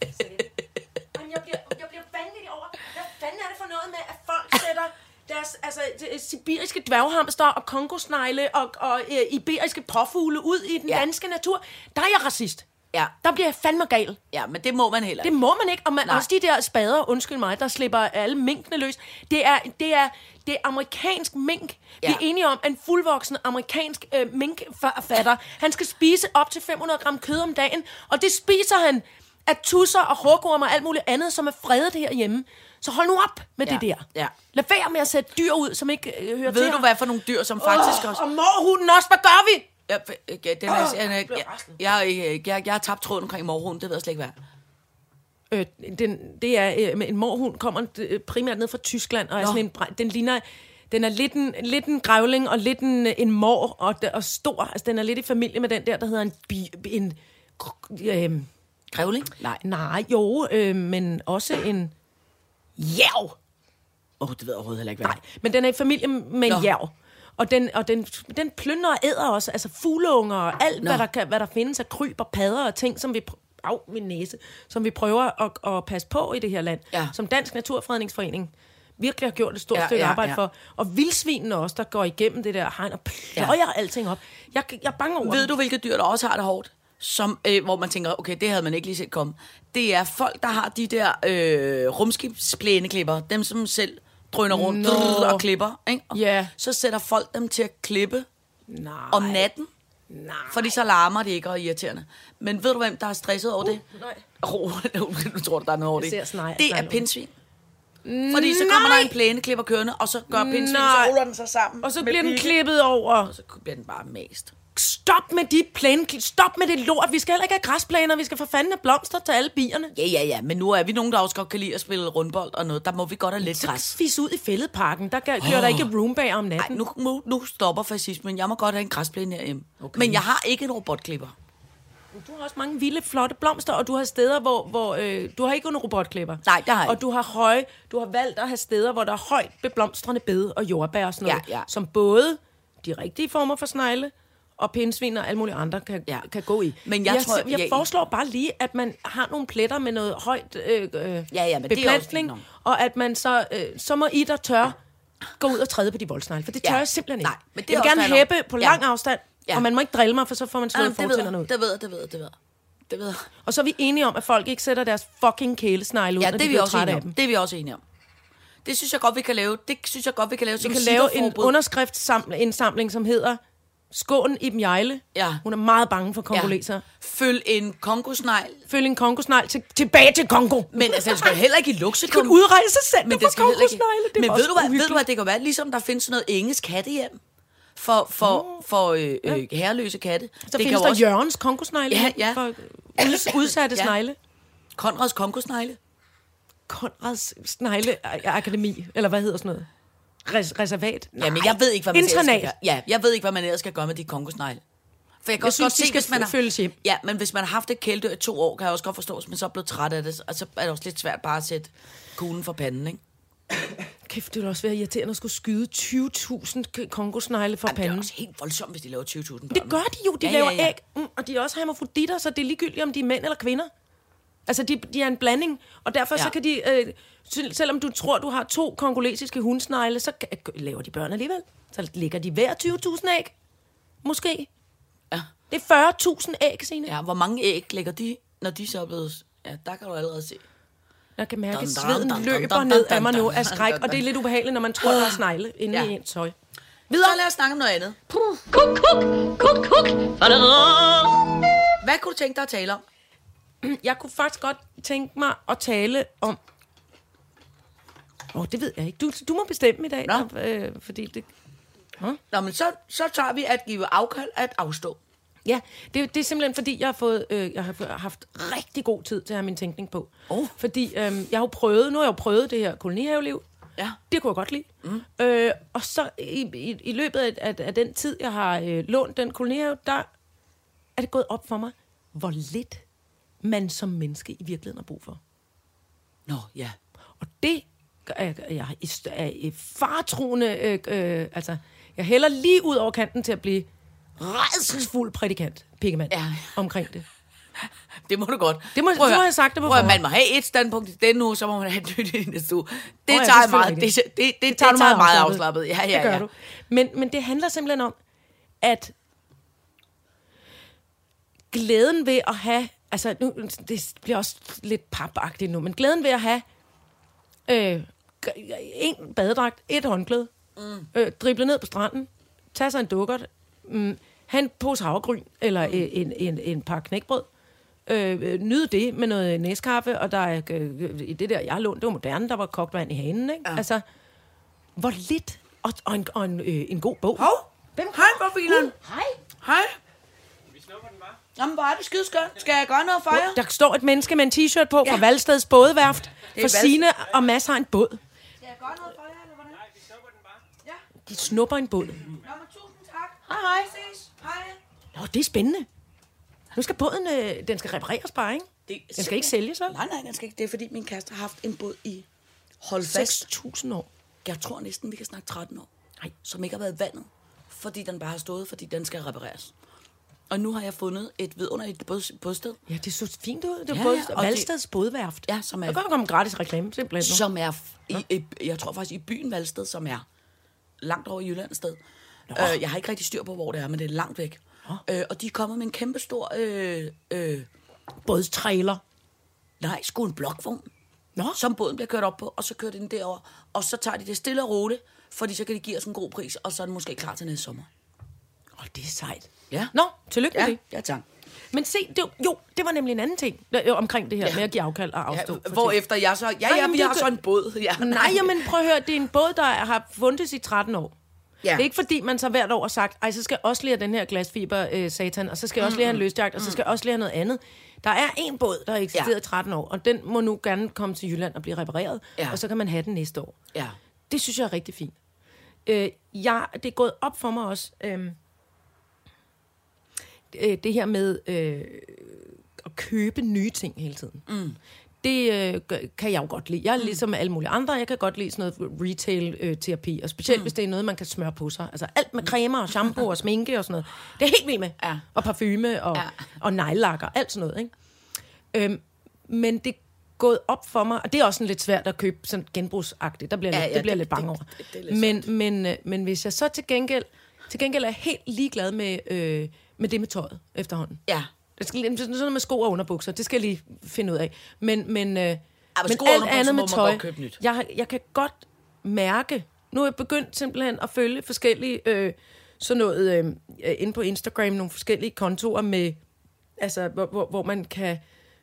Jamen, jeg bliver, jeg bliver vanvittig over, hvad fanden er det for noget med, at folk sætter deres altså, de- sibiriske dværghamster og kongosnegle og, og øh, iberiske påfugle ud i den Ja. ja. danske natur. Der er jeg racist. Ja. Der bliver jeg fandme gal. Ja, men det må man heller Det må man ikke. Og man, Nej. også de der spader, undskyld mig, der slipper alle minkene løs. Det er, det er, det er amerikansk mink. Ja. Vi Ja. er enige om, at en fuldvoksen amerikansk øh, minkfatter, han skal spise op til 500 gram kød om dagen, og det spiser han af tusser og hårgorm og alt muligt andet, som er fredet herhjemme. Så hold nu op med Ja. det der. Ja. Lad være med at sætte dyr ud, som ikke øh, hører til Ved du, her. hvad for nogle dyr, som faktisk Åh, også... Og morhunden også, hvad gør vi? Ja, f- øh, ja, den er, Åh, den er, jeg blev jeg, rasende. jeg, jeg, jeg, jeg har tabt tråden omkring morgenhunden, det ved jeg slet ikke hvad. Øh, den, det er øh, med en morhund, kommer øh, primært ned fra Tyskland, og er Nå. sådan en, bre- den ligner, den er lidt en, lidt en grævling og lidt en, øh, en mor og, d- og stor. Altså, den er lidt i familie med den der, der hedder en... Bi, en øh, Grævling? nej, nej, jo, øh, men også en jæv. Åh, oh, det ved jeg overhovedet heller ikke hvad. Nej, men den er i familie med Nå. en jæv. Og den, og den, den plyndrer og æder også, altså fugleunger og alt, hvad der, kan, hvad der findes af kryb og padder og ting, som vi, pr- au, min næse, som vi prøver at, at passe på i det her land. Ja. Som Dansk Naturfredningsforening virkelig har gjort et stort Ja, ja, stykke ja, ja, arbejde ja. ja. for. Og vildsvinene også, der går igennem det der hegn og pløjer ja. alting op. Jeg, jeg er bange over Ved dem. du, hvilke dyr, der også har det hårdt? Som, øh, hvor man tænker, okay, det havde man ikke lige set komme. Det er folk, der har de der øh, rumskibsplæneklipper. Dem, som selv drøner rundt Nå. drrr, og klipper. Ikke? Og Ja. Så sætter folk dem til at klippe Nej. om natten. Nej. Fordi så larmer det ikke og er irriterende. Men ved du, hvem der er stresset over det? nej. Oh, nu tror (laughs) du, der er noget over det. ser snegl- det er sneglen. pisvin. Fordi så kommer Nej. der en plæneklipper kørende, og så gør pindsvin, så Nej. ruller den sig sammen. Og så med bliver den pigge, klippet over. Og så bliver den bare mast. Stop med de plan, stop med det lort. Vi skal heller ikke have græsplaner. Vi skal for fanden have blomster til alle bierne. Ja, ja, ja, men nu er vi nogen, der også godt kan lide at spille rundbold og noget. Der må vi godt have lidt græs. fisse ud i fældeparken. Der gør, gør der ikke roombager om Nej, natten. nu, nu, nu stopper fascismen. Jeg må godt have en græsplæne herhjemme. Okay. Men jeg har ikke en robotklipper. Du har også mange vilde, flotte blomster, og du har steder, hvor, hvor øh, du har ikke en robotklipper. Nej, det har jeg Og ikke. du har, høje, du har valgt at have steder, hvor der er højt beblomstrende bede og jordbær og sådan Ja, noget, ja. som både de rigtige former for snegle og pindsvin og alle mulige andre kan, Ja. ja. kan gå i. Men jeg tror- jeg, jeg- jeg foreslår bare lige, at man har nogle pletter med noget højt øh, øh, ja, men det er beplantning, også fint og at man så, øh, så må I, der tør, gå ud og træde på de voldsnegle, for det tør Ja. jeg simpelthen ikke. Nej, men det er jeg vil også gerne fair nok. hæppe på Ja. lang afstand, Ja. og man må ikke drille mig, for så får man slået Jamen, det ved jeg, fortænderne ud. det ved jeg, det ved jeg, det ved jeg. Det ved jeg. Og så er vi enige om, at folk ikke sætter deres fucking kælesnegle ud, Ja, når det de er, vi bliver også trætte enige af om. dem. Det er vi også enige om. Det synes jeg godt, vi kan lave. Det synes jeg godt, vi kan lave som Vi kan lave en sitterforbud. underskriftsindsamling, som hedder Skån Iben Jejle. Ja. Hun er meget bange for kongoleser. Ja. Følg en kongosnegl. Følg en kongosnegl til, tilbage til Kongo. Men altså, den skal jo heller ikke i luksekum. Kun udrejse selv Men for det skal heller ikke. kongosnegle. Det er Men også ved du, hvad, ved uhyggeligt. du hvad, det kan være ligesom der findes sådan noget engelsk kattehjem for, for, for øh, øh, herreløse katte. Mm. Så det Altså, findes der også... Jørgens kongosnegle. Ja, ja. For (laughs) uds- udsatte Ja. ja. snegle. Konrads kongosnegle. Konrads snegleakademi, eller hvad hedder sådan noget? Res- reservat? Nej. Jamen, jeg ved ikke, hvad man ellers skal Internat. gøre. Ja, jeg ved ikke, hvad man ellers skal gøre med de kongosnegle. For jeg Jeg kan også synes, godt de se, skal hvis man har... følges hjem. Ja, men hvis man har haft et kæledyr i to år, kan jeg også godt forstå, hvis man så er blevet træt af det, og så er det også lidt svært bare at sætte kuglen for panden, ikke? Kæft, det ville også være irriterende at skulle skyde 20.000 k- kongosnegle fra Jamen, det er panden. også helt voldsomt, hvis de laver 20.000 børn. Det gør de jo. De Ja, ja, ja, laver ja, ja. æg, mm, og de er også hermafroditter, så det er ligegyldigt, om de er mænd eller kvinder. Altså, de, de er en blanding, og derfor ja. Ja. så kan de... Øh, sel- selvom du tror, du har to kongolesiske hundsnegle, så kan- laver de børn alligevel. Så ligger de hver 20.000 æg. Måske. Ja. Det er 40.000 æg, Signe. ja, hvor mange æg lægger de, når de så er blevet... Ja, der kan du allerede se. Jeg kan mærke, at Dun, dun, sveden dun, dun, løber dun, ned dun, af mig dun, nu dun, af skræk, dun, og det er dun. lidt ubehageligt, når man tror, der er snegle inde i Ja. ens tøj. Videre. Så lad os snakke om noget andet. Kuk, kuk, kuk, kuk. Hvad kunne du tænke dig at tale om? Jeg kunne faktisk godt tænke mig at tale om... Åh, oh, det ved jeg ikke. Du, du må bestemme i dag, Nå. Øh, fordi det, Nå, men så, så tager vi at give afkald at afstå. Ja, det, det er simpelthen fordi, jeg har, fået, øh, jeg har fået- haft rigtig god tid til at have min tænkning på. Oh. Fordi øh, jeg har jo prøvet, nu har jeg jo prøvet det her kolonihaveliv. Ja. Det kunne jeg godt lide. Mm. Øh, og så i, i, i løbet af, af, af den tid, jeg har øh, lånt den kolonihave, der er det gået op for mig, hvor lidt man som menneske i virkeligheden har brug for. Nå, ja. Og det er jeg i st- er i faretruende... Øh, øh, altså, jeg hælder lige ud over kanten til at blive redselsfuld prædikant, pikkemand, Ja. omkring det. Det må du godt. Det må- Prøv at du høre. har sagt det på Prøv at høre, forhånd. man må have et standpunkt i denne uge, så må man have et nyt i næste uge. Det ja, tager det er jeg meget, selvfølgelig det, det, rigtigt. det, det, det tager du meget, meget afslappet. Ja, ja, det gør ja. du. Men, men det handler simpelthen om, at glæden ved at have... Altså, nu, det bliver også lidt papagtigt nu, men glæden ved at have øh, en badedragt, et håndklæde, mm. øh, drible ned på stranden, tage sig en dukkert, mm, have en pose havregryn eller mm. en, en, en par knækbrød, øh, øh, nyde det med noget næskaffe, og der er, øh, øh, i det der, jeg har lånt, det var moderne, der var kogt vand i hanen, ikke? Ja. Altså, hvor lidt, og, og, en, og en, øh, en god bog. Hov, hej, Bobbileren. Hej. Hej. Jamen, hvor er det skideskønt. Skal jeg gøre noget for jer? Der står et menneske med en t-shirt på ja. fra Ja. Valsteds bådeværft, for Val- Sine og Mads har en båd. Skal jeg gøre noget for jer, eller hvordan? De snupper en båd. Nå, men tusind tak. Hej, hej. Ses. Hej. Nå, det er spændende. Nu skal båden, øh, den skal repareres bare, ikke? Den skal ikke sælges, vel? Nej, nej, den skal ikke. Det er, fordi min kæreste har haft en båd i hold fast. 6.000 år. Jeg tror næsten, vi kan snakke 13 år. Nej. Som ikke har været i vandet, fordi den bare har stået, fordi den skal repareres. Og nu har jeg fundet et vidunderligt båd- bådsted, Ja, det så fint ud. Det er Ja, ja, ja, både og det- Valsteds bådeværft. Ja, som er- Der kan der komme en gratis reklame, simpelthen. Nu. som er, f- i, i, jeg tror faktisk, i byen Valsted, som er langt over i Jylland et sted. Øh, jeg har ikke rigtig styr på, hvor det er, men det er langt væk. Øh, og de er kommet med en kæmpe stor, øh, øh, bådstrailer. nej, sgu en blokvogn. Nå, som båden bliver kørt op på, og så kører den derover, og så tager de det stille og roligt, fordi så kan de give os en god pris, og så er den måske klar til næste sommer. oh, det er sejt. Ja. Nå, tillykke med Ja, det. ja tak. Men se, det, var- jo, det var nemlig en anden ting øh, omkring det her ja. med at give afkald og afstå. for Ja, ting. hvor efter jeg så, ja, Nej, ja, jamen, vi det er har gø- så en båd. Ja, Nej, jamen prøv at høre, det er en båd, der har fundet i 13 år. Ja. Ja. Det er ikke fordi, man så hvert år har sagt, ej, så skal jeg også lige have den her glasfiber, øh, satan, og så skal jeg også lige have en løsjagt, og så skal jeg også lige have noget andet. Der er en båd, der har eksisteret Mm. Ja. ja. i 13 år, og den må nu gerne komme til Jylland og blive repareret, ja. Ja. og så kan man have den næste år. Ja. Det synes jeg er rigtig fint. Øh, jeg, det er gået op for mig også, øh, øh, det her med øh, at købe nye ting hele tiden. Mm. Det øh, gør- kan jeg jo godt lide. Jeg er ligesom alle mulige andre. Jeg kan godt lide sådan noget retail-terapi. Og specielt, mm. hvis det er noget, man kan smøre på sig. Altså alt med cremer og shampoo og sminke og sådan noget. Det er jeg helt vildt med. Ja. Og parfume og, ja. og neglelakker. Alt sådan noget, ikke? Øhm, men det er gået op for mig, og det er også sådan lidt svært at købe sådan genbrugsagtigt, der bliver ja, Ja, lidt, ja, det ja, bliver det, det- lidt bange det- over. det- det er lidt men, men, øh, men hvis jeg så til gengæld, til gengæld er jeg helt ligeglad med, øh, med det med tøjet efterhånden. Ja. Det skal, lige- sådan noget med sko og underbukser, det skal jeg lige finde ud af. Men, men, øh, men sko og underbukser må man godt købe nyt. jeg, har- jeg kan godt mærke, nu er jeg begyndt simpelthen at følge forskellige, øh, sådan noget, øh, øh, inde på Instagram, nogle forskellige kontorer med, altså, hvor, hvor, hvor man kan,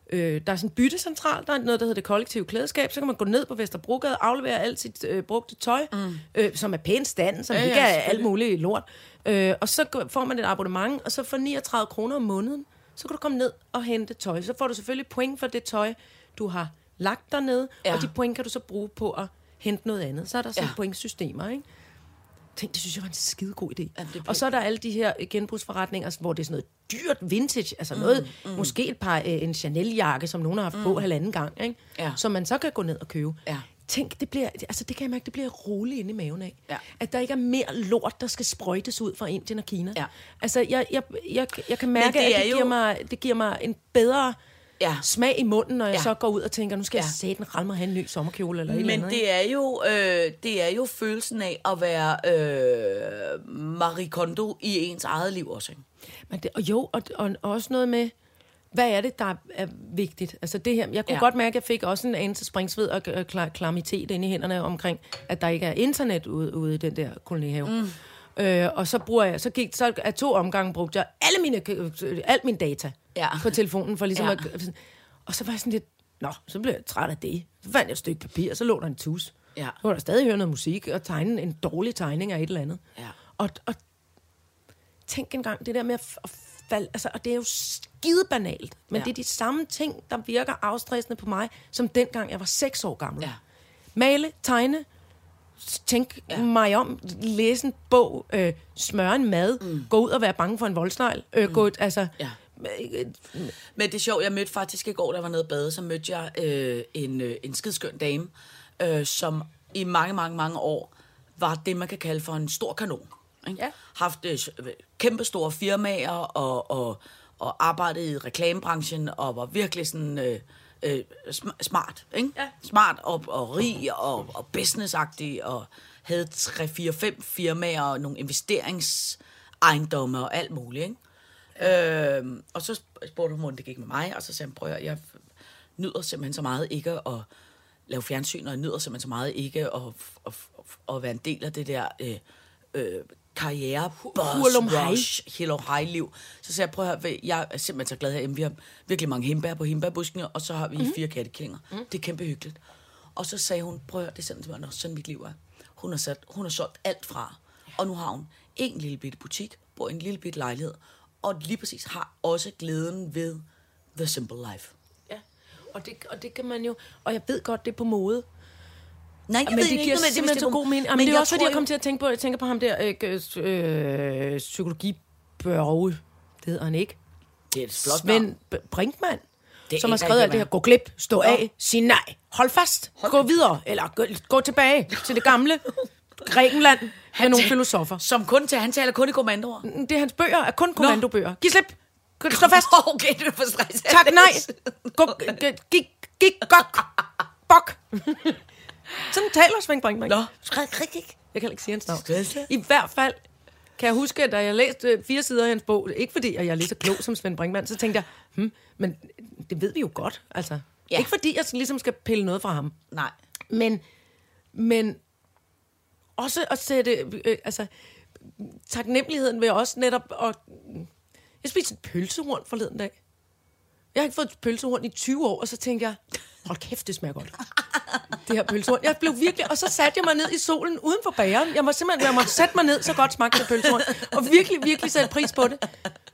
øh, der er sådan en byttecentral, der er noget, der hedder det kollektive klædeskab, så kan man gå ned på Vesterbrogade, aflevere alt sit øh, brugte tøj, mm. øh, som er pænt stand, som ja, ikke ja, er selvfølgelig. alt muligt lort, øh, og så går- får man et abonnement, og så for 39 kroner om måneden, så kan du komme ned og hente tøj. Så får du selvfølgelig point for det tøj, du har lagt dernede, ja. Ja. og de point kan du så bruge på at hente noget andet. Så er der sådan ja. Ja. pointsystemer, ikke? Tænk, det synes jeg var en skide god idé. det er og så er der alle de her øh, genbrugsforretninger, hvor det er sådan noget dyrt vintage, Mm, altså noget, måske et par, øh, en Chanel-jakke, som nogen har haft mm. på halvanden gang, ikke? Ja. som man så kan gå ned og købe. Ja. Tænk, det bliver, altså det kan jeg mærke, det bliver roligt inde i maven af. Ja. At der ikke er mere lort, der skal sprøjtes ud fra Indien og Kina. Ja. Altså, jeg, jeg, jeg, jeg kan mærke, det at er det jo- giver, mig, det giver mig en bedre Ja. smag i munden, når jeg Ja. ja. så går ud og tænker, nu skal ja. Ja. jeg satan ramme mig have en ny sommerkjole eller et eller Men andet. det er, jo, øh, det er jo følelsen af at være øh, Marie Kondo i ens eget liv også. Ikke? ikke? Men det og jo, og, og, og også noget med, hvad er det, der er- er vigtigt? Altså det her, jeg kunne Ja. ja. godt mærke, at jeg fik også en anelse springsved og øh, kla- klamytet inde i hænderne omkring, at der ikke er internet ude, ude i den der kolonihave. Mm. Øh, og så bruger jeg, så gik, så af to omgange brugte jeg alle mine, øh, alt min data Ja. på telefonen, for ligesom Ja. ja. at, og så var jeg sådan lidt, nå, så blev jeg træt af det. Så fandt jeg et stykke papir, så lå der en tus. Ja. Så var der stadig høre noget musik og tegne en dårlig tegning af et eller andet. Ja. Og, og tænk engang, det der med at, f- at falde, altså, og det er jo skide banalt, men Ja. ja. det er de samme ting, der virker afstressende på mig, som dengang jeg var 6 år gammel. Ja. Male, tegne, s- tænke ja. mig om, læse en bog, øh, smøre en mad, mm. gå ud og være bange for en voldsnegl, øh, mm. gå et, altså... Ja. øh, øh, Men det er sjovt, jeg mødte faktisk i går, der var nede at bade, så mødte jeg øh, en, øh, en skidskøn dame, øh, som i mange, mange, mange år var det, man kan kalde for en stor kanon. Ikke? Ja. Haft øh, s- øh, kæmpe store firmaer og, og, og arbejdede i reklamebranchen og var virkelig sådan... Øh, øh, sm- smart, ikke? Ja. Smart og, og rig og, og businessagtig og havde 3-4-5 firmaer og nogle investeringsejendomme og alt muligt, ikke? Øhm, og så spurgte hun, hvordan det gik med mig, og så sagde hun, prøv at høre, jeg nyder simpelthen så meget ikke at lave fjernsyn, og jeg nyder simpelthen så meget ikke at, at, at, at være en del af det der øh, øh, karriere Hurlum buzz hej. rush, hello hej liv. Så sagde jeg, prøv at høre, jeg er simpelthen så glad herhjemme, vi har virkelig mange hembær på hembærbuskene, og så har vi Mhm. mm-hmm. fire kattekillinger. Mm. Det er kæmpe hyggeligt. Og så sagde hun, prøv at høre, det er sådan, det var nok sådan mit liv er. Hun har, sat, hun har solgt alt fra, og nu har hun en lille bitte butik, bor i en lille bitte lejlighed, og lige præcis har også glæden ved The Simple Life. ja. Og, det, og det kan man jo... Og jeg ved godt, det er på mode, Nej, jeg men ved det ikke giver nødvendigvis, simpelthen det så er på- god mening. Men, men det jeg er også, fordi tror jeg kom jo- til at tænke på, jeg tænker på ham der, øh, g- øh, psykologibørge, det hedder han ikke, Det er et flot Svend B- Brinkmann, Det som aner har jeg skrevet ikke, alt det her, hvem er. gå glip, stå af, sig nej, hold fast, gå videre, eller gå, gå tilbage til det (laughs) gamle Grækenland med nogle filosofer. Som kun til, han taler kun i kommandoer. (laughs) Det er hans bøger, er kun kommandobøger. Giv slip, stå fast, okay, det er for stress. (laughs) tak, nej, gå, g- gik, gik, gok, (laughs) bok. Sådan taler Svend Brinkmann. Nå, Jeg kan heller ikke sige hans Stresse. navn. I hvert fald kan jeg huske, at da jeg læste øh, fire sider af hans bog, ikke fordi at jeg er lige så klog som Svend Brinkmann, så tænkte jeg, hm, men det ved vi jo godt, altså. Ja. Ja. Ikke fordi jeg ligesom skal pille noget fra ham, nej. men, men også at sætte, øh, altså, taknemmeligheden ved også netop at... Jeg spiste et pølsehorn forleden dag. Jeg har ikke fået et pølsehorn i 20 år, og så tænkte jeg, hold kæft, det smager godt. Det her pølsehorn. Jeg blev virkelig... Og så satte jeg mig ned i solen uden for bageren. Jeg må simpelthen jeg måtte sætte mig ned, så godt smagte det pølsehorn. Og virkelig, virkelig sætte pris på det.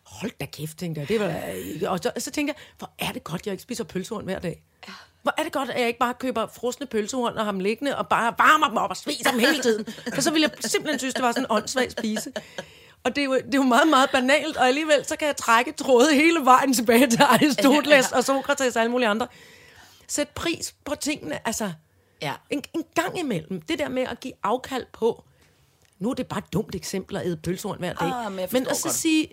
Hold da kæft, tænkte jeg. Det var, da ikke- og så, så tænkte jeg, hvor er det godt, jeg ikke spiser pølsehorn hver dag. Hvor er det godt, at jeg ikke bare køber frosne pølsehorn og har dem liggende, og bare varmer dem op og spiser dem hele tiden. For så ville jeg simpelthen synes, det var sådan en åndssvag spise. Og det er, jo, det er jo meget, meget banalt, og alligevel så kan jeg trække tråde hele vejen tilbage til Aristoteles og Sokrates og alle mulige andre. Sæt pris på tingene, altså Ja. en, en gang imellem. Det der med at give afkald på, nu er det bare et dumt eksempel at æde pølsehorn hver dag. Ah, men jeg forstår men at så godt. sige,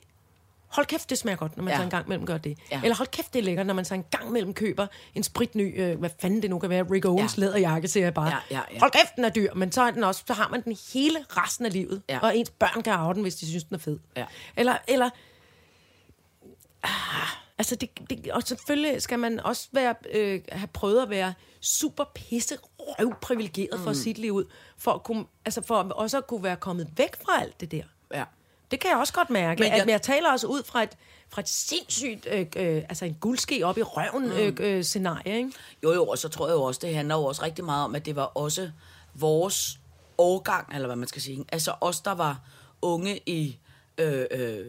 hold kæft, det smager godt, når man Ja. ja. så en gang imellem gør det. Ja. Ja. Eller hold kæft, det er lækkert, når man så en gang imellem køber en spritny, øh, hvad fanden det nu kan være, Rick Owens Ja. ja. læderjakke, siger jeg bare. Ja, ja, ja. Hold kæft, den er dyr, men så, er den også, så har man den hele resten af livet. Ja. Ja. Og ens børn kan arve den, hvis de synes, den er fed. Ja. Eller, eller Altså, det, det, og selvfølgelig skal man også være, øh, have prøvet at være super pisse røvprivilegeret for mm. sit liv ud, for, at kunne, altså for at også at kunne være kommet væk fra alt det der. Ja. Det kan jeg også godt mærke. Men Men jeg- jeg, at, men jeg taler også ud fra et, fra et sindssygt, øh, øh, altså en guldske op i røven mm. øh, øh, scenarie, ikke? Jo, jo, og så tror jeg jo også, det handler jo også rigtig meget om, at det var også vores årgang, eller hvad man skal sige. Altså os, der var unge i øh, øh,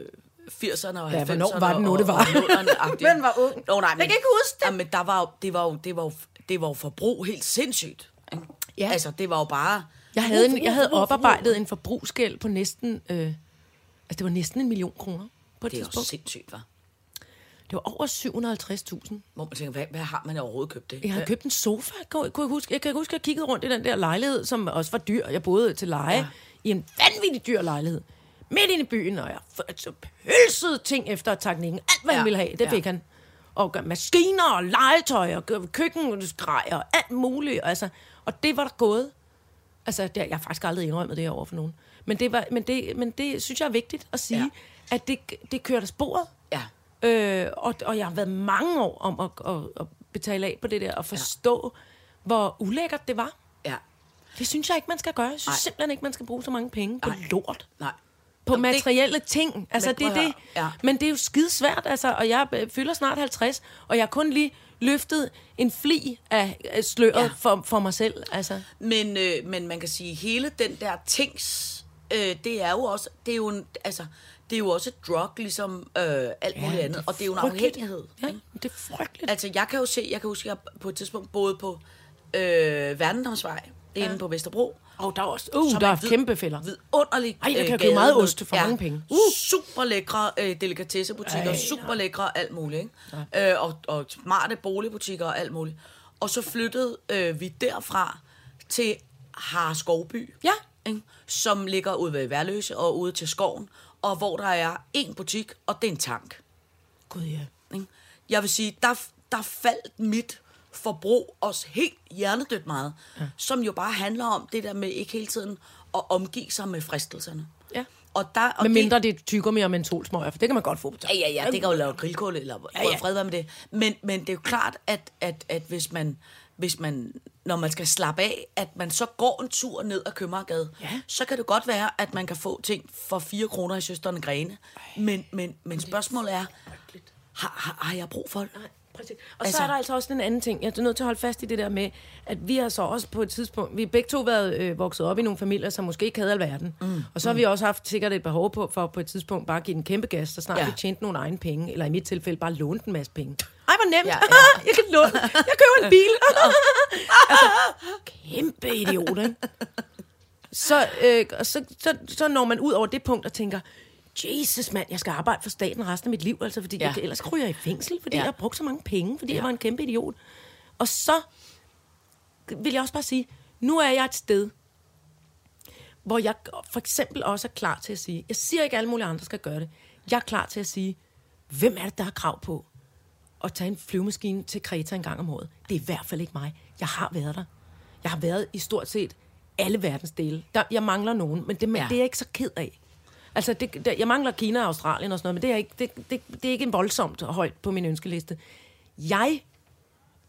80'erne og Ja, 90'erne. hvornår var det nu, og- det var? og (laughs) 00'erne-agtigt. Hvem var ung? Nå, nej, men, Jeg kan ikke huske det. Ja, men der var, jo- det, var jo, det, var jo, det var jo forbrug helt sindssygt. ikke? Ja. Altså, det var jo bare... Jeg havde, en, jeg havde oparbejdet en forbrugsgæld på næsten, øh, altså det var næsten en million kroner på et Det er jo tidspunkt. sindssygt, hva'? Det var over 750.000. Hvor man tænker, hvad, hvad har man overhovedet købt det? Jeg havde købt en sofa, kunne, kunne jeg huske. Jeg kan huske, at jeg kiggede rundt i den der lejlighed, som også var dyr. Jeg boede til leje ja. i en vanvittig dyr lejlighed. Midt inde i byen, og jeg f- så pølsede ting efter teknikken. Alt, hvad ja. Ja, han ville have, det ja. ja. fik han. og gør maskiner og legetøj og gør- køkkengrej og alt muligt. Altså, og det var der gået. Altså, det, jeg har faktisk aldrig indrømmet det her over for nogen. Men det, var, men det, men det synes jeg er vigtigt at sige, ja. at det, det kørte af sporet. Ja. Øh, og, og jeg har været mange år om at, at, at betale af på det der, og forstå, ja. hvor ulækkert det var. Ja. Det synes jeg ikke, man skal gøre. Jeg synes Nej. Ej. simpelthen ikke, man skal bruge så mange penge på Ej. lort. Nej. På Jamen, materielle det... ting. Altså, Men det prøv er at det. høre. Ja. Men det er jo skidesvært, altså. Og jeg øh, fylder snart 50, og jeg har kun lige løftet en fli af af sløret ja. Ja. for, for mig selv. Altså, Men, øh, men man kan sige, hele den der tings, øh, det er jo også, det er jo en, altså, det er jo også et drug, ligesom øh, alt ja, muligt andet. Og det er jo en frygteligt. afhængighed. Ja, det er frygteligt. Altså, jeg kan jo se, jeg kan huske, jeg på et tidspunkt boede på øh, Verdendomsvej, ja. inde på Vesterbro. Og der er også uh, som der er er vid- kæmpe fælder. Vidunderlig Ej, der øh, kan jeg gade købe meget med- ost for mange penge. Uh. Super lækre øh, delikatessebutikker, super lækre alt muligt, ikke? Øh, og, og smarte boligbutikker og alt muligt. Og så flyttede øh, vi derfra til Harskovby, Ja. ikke? som ligger ude ved Værløse og ude til skoven, og hvor der er en butik, og det er en tank. Gud, ja. Ikke? Jeg vil sige, der, der faldt mit forbrug også helt hjernedødt meget, ja. som jo bare handler om det der med ikke hele tiden at omgive sig med fristelserne. Ja. Og der, og Med mindre det er tyggegummi og mentolsmøger, for det kan man godt få på Ja, ja, ja, det kan jo lave grillkål, eller ja, ja. fred være med det. Men, men det er jo klart, at, at, at hvis, man, hvis man, når man skal slappe af, at man så går en tur ned ad Købmagergade, ja. så kan det godt være, at man kan få ting for 4 kroner i søsterne Grene. Men, men, men spørgsmålet er, har, har, har jeg brug for det? Præcis. Og altså, Altså- så er der altså også den anden ting. Jeg er nødt til at holde fast i det der med, at vi har så også på et tidspunkt, vi har begge to været øh, vokset op i nogle familier, som måske ikke havde alverden. Mm. Og så har vi også haft sikkert et behov på, for på et tidspunkt bare at give den kæmpe gas, så snart ja. Ja. vi tjente nogle egne penge, eller i mit tilfælde bare lånte en masse penge. Ej, hvor nemt! Ja, Ja, (laughs) ja. ja. jeg kan låne. Jeg køber en (laughs) bil. altså, kæmpe idiot, ikke? så, øh, og så, så, så når man ud over det punkt og tænker, Jesus mand, jeg skal arbejde for staten resten af mit liv, altså, fordi ja. Ja. jeg, kan- ellers ryger jeg i fængsel, fordi ja. Ja. jeg har brugt så mange penge, fordi ja. jeg Ja. var en kæmpe idiot. Og så vil jeg også bare sige, nu er jeg et sted, hvor jeg for eksempel også er klar til at sige, jeg siger ikke, at alle mulige andre skal gøre det, jeg er klar til at sige, hvem er det, der har krav på at tage en flyvemaskine til Kreta en gang om året? Det er i hvert fald ikke mig. Jeg har været der. Jeg har været i stort set alle verdensdele. Der, jeg mangler nogen, men det, men Ja. det er jeg ikke så ked af. Altså, det, der, jeg mangler Kina og Australien og sådan noget, men det er, ikke, det, det, det er ikke voldsomt højt på min ønskeliste. Jeg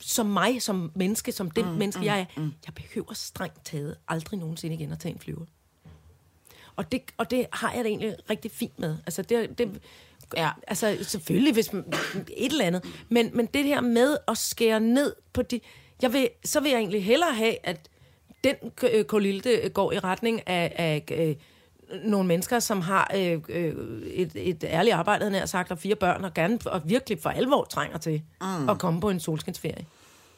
som mig, som menneske, som det mm, menneske, mm, jeg er, mm. jeg behøver strengt taget aldrig nogensinde igen at tage en flyver. Og det, og det har jeg det egentlig rigtig fint med. Altså, det, det, ja. altså selvfølgelig, hvis man, et eller andet. Men, men det her med at skære ned på de... Jeg vil, så vil jeg egentlig hellere have, at den k- øh, kolilde går i retning af, af øh, nogle mennesker, som har øh, øh, et, et ærligt arbejde, havde jeg nær sagt, og fire børn, og, gerne, og virkelig for alvor trænger til mm. at komme på en solskinsferie.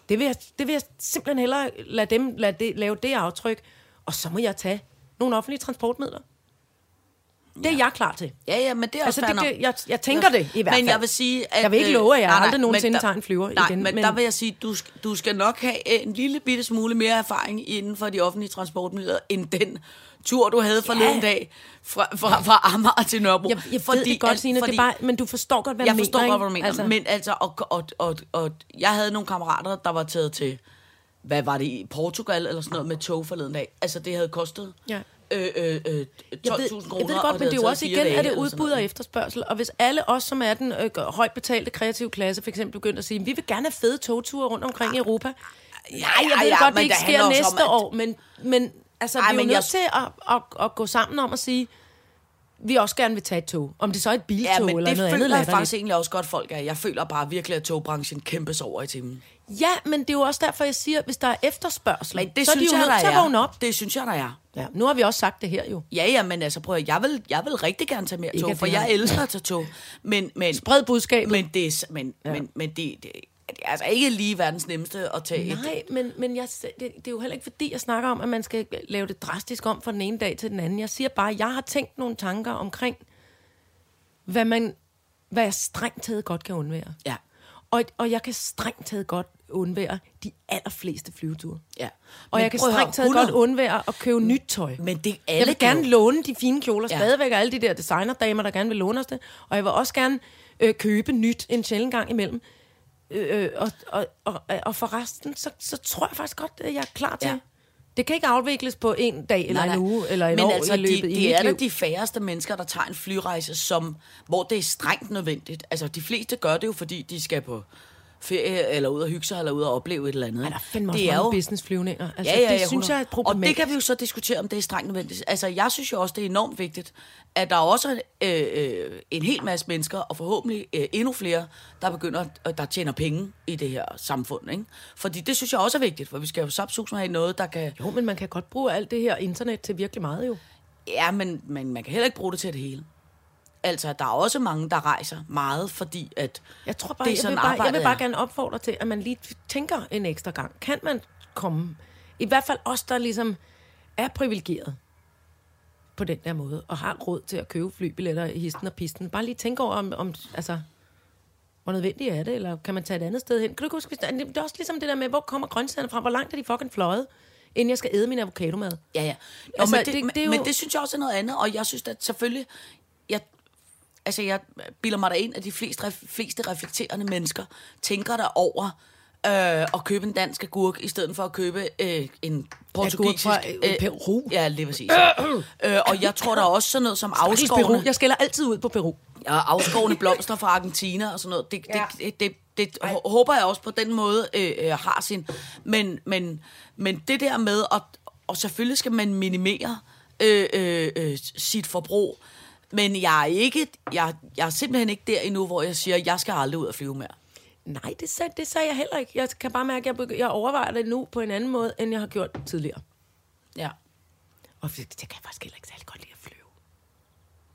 Det vil, jeg, det vil jeg simpelthen hellere lade dem lade det, lave det aftryk, og så må jeg tage nogle offentlige transportmidler. Det er jeg klar til. Ja, ja, men det er Altså, også fair det, nok. det, jeg, jeg tænker det i hvert men fald. jeg vil sige, at... Jeg vil ikke øh, love, at jeg nej, nej, aldrig men nogensinde der- tager en flyver nej, igen, Men, men- men der vil jeg sige, du, sk- du skal nok have øh, en lille bitte smule mere erfaring inden for de offentlige transportmidler, end den tur, du havde Ja. forleden dag fra, fra, fra Amager til Nørrebro. Jeg, jeg fordi, ved det godt, Signe, fordi, det er bare, men du forstår godt, hvad jeg mener, forstår ikke? godt, hvad du mener. Altså. Men altså, og, og, og, og, jeg havde nogle kammerater, der var taget til, hvad var det, i Portugal eller sådan noget med tog forleden dag. Altså, det havde kostet Ja. øh, øh, øh, 12.000 jeg kroner. ved, jeg ved og godt, men det er havde jo taget også fire igen, dage at det eller sådan udbud noget. og efterspørgsel. Og hvis alle os, som er den øh, højt betalte kreative klasse, for eksempel begynder at sige, vi vil gerne have fede togture rundt omkring i Europa. Nej, jeg ja, ved ja, godt, det men ikke det handler sker også næste om, at- år, men, men altså, Ej, vi er jo men nødt jeg- til at, at, at gå sammen om at sige, vi også gerne vil tage et tog. Om det så er et biltog Ja, men eller det noget andet føler jeg latterligt. faktisk egentlig også godt, folk er. Jeg føler bare virkelig, at togbranchen kæmpes over i timen. Ja, men det er jo også derfor, jeg siger, at hvis der er efterspørgsel, Men det så er de synes jo jeg, nødt til der at er. vågne op. Det synes jeg, der er. Ja, nu har vi også sagt det her jo. Ja, ja, men altså prøv at, jeg vil, jeg vil rigtig gerne tage mere Ikke at tog, for det har- jeg elsker at tage tog. Men, men, Spred budskabet. men det er, s- men, ja. men, men det, det, det er altså ikke lige verdens nemmeste at tage et. Nej, men, men jeg, det, det er jo heller ikke fordi, jeg snakker om, at man skal lave det drastisk om fra den ene dag til den anden. Jeg siger bare, at jeg har tænkt nogle tanker omkring, hvad, man, hvad jeg strengt taget godt kan undvære. Ja. Og, og jeg kan strengt taget godt undvære de allerfleste flyveture. Ja. Og Men jeg kan prøv at høre, strengt taget godt 100. undvære at købe nyt tøj. Men det er jeg alle vil kan gerne jo. låne de fine kjoler ja. Ja. stadigvæk, og alle de der designerdamer, der gerne vil låne os det. Og jeg vil også gerne øh, købe nyt en sjældent gang imellem. Øh, øh, og, og, og, og for resten, så, så tror jeg faktisk godt, at jeg er klar til. Ja. Det kan ikke afvikles på en dag, eller en uge, eller en Men år altså, i løbet de, i de mit er da liv. de færreste mennesker, der tager en flyrejse, som, hvor det er strengt nødvendigt. Altså, de fleste gør det jo, fordi de skal på ferie, eller ud og hygge sig, eller ud og opleve et eller andet. Ej, der er fandme det også mange businessflyvninger. Altså, det synes 100. jeg er et Og det problematisk. kan vi jo så diskutere, om det er strengt nødvendigt. Altså, jeg synes jo også, det er enormt vigtigt, at der er også øh, øh, en hel masse mennesker, og forhåbentlig øh, endnu flere, der begynder, øh, der tjener penge i det her samfund. Ikke? Fordi det synes jeg også er vigtigt, for vi skal jo sapsusen have noget, der kan... Jo, men man kan godt bruge alt det her internet til virkelig meget jo. Ja, men, men man kan heller ikke bruge det til det hele. Altså, der er også mange, der rejser meget, fordi at Jeg tror bare, det er jeg sådan vil bare, jeg arbejdet vil bare er. gerne opfordre til, at man lige tænker en ekstra gang. Kan man komme? I hvert fald os, der ligesom er privilegeret på den der måde, og har råd til at købe flybilletter i histen og pisten. Bare lige tænke over, om, om altså, hvor nødvendigt er det, eller kan man tage et andet sted hen? Kan du ikke huske, hvis der, det er også ligesom det der med, hvor kommer grøntsagerne fra? Hvor langt er de fucking fløjet, inden jeg skal æde min avocadomad? Ja, ja. Jo, Altså, altså, men, det, det- det, det er jo... jo- men det synes jeg også er noget andet, og jeg synes at selvfølgelig, jeg, altså jeg bilder mig da ind, at de fleste, ref- fleste reflekterende mennesker tænker der over øh, at købe en dansk agurk, i stedet for at købe øh, en portugisisk... fra, øh, Peru. Ja, lige præcis. øh, og jeg tror der er også sådan noget som Stakkels Peru. afskårende... Jeg skælder altid ud på Peru. og afskårende blomster fra Argentina og sådan noget. Det, ja. det, det, det, det hå- håber jeg også på den måde øh, øh, har sin. Men, men, men det der med, at, og selvfølgelig skal man minimere øh, øh, øh, sit forbrug, men jeg er, ikke, jeg, jeg er simpelthen ikke der endnu, hvor jeg siger, at jeg skal aldrig ud og flyve mere. Nej, det sagde, det sagde jeg heller ikke. Jeg kan bare mærke, at jeg, begy- jeg overvejer det nu på en anden måde, end jeg har gjort tidligere. Ja. Og det jeg kan faktisk heller ikke særlig godt lide at flyve.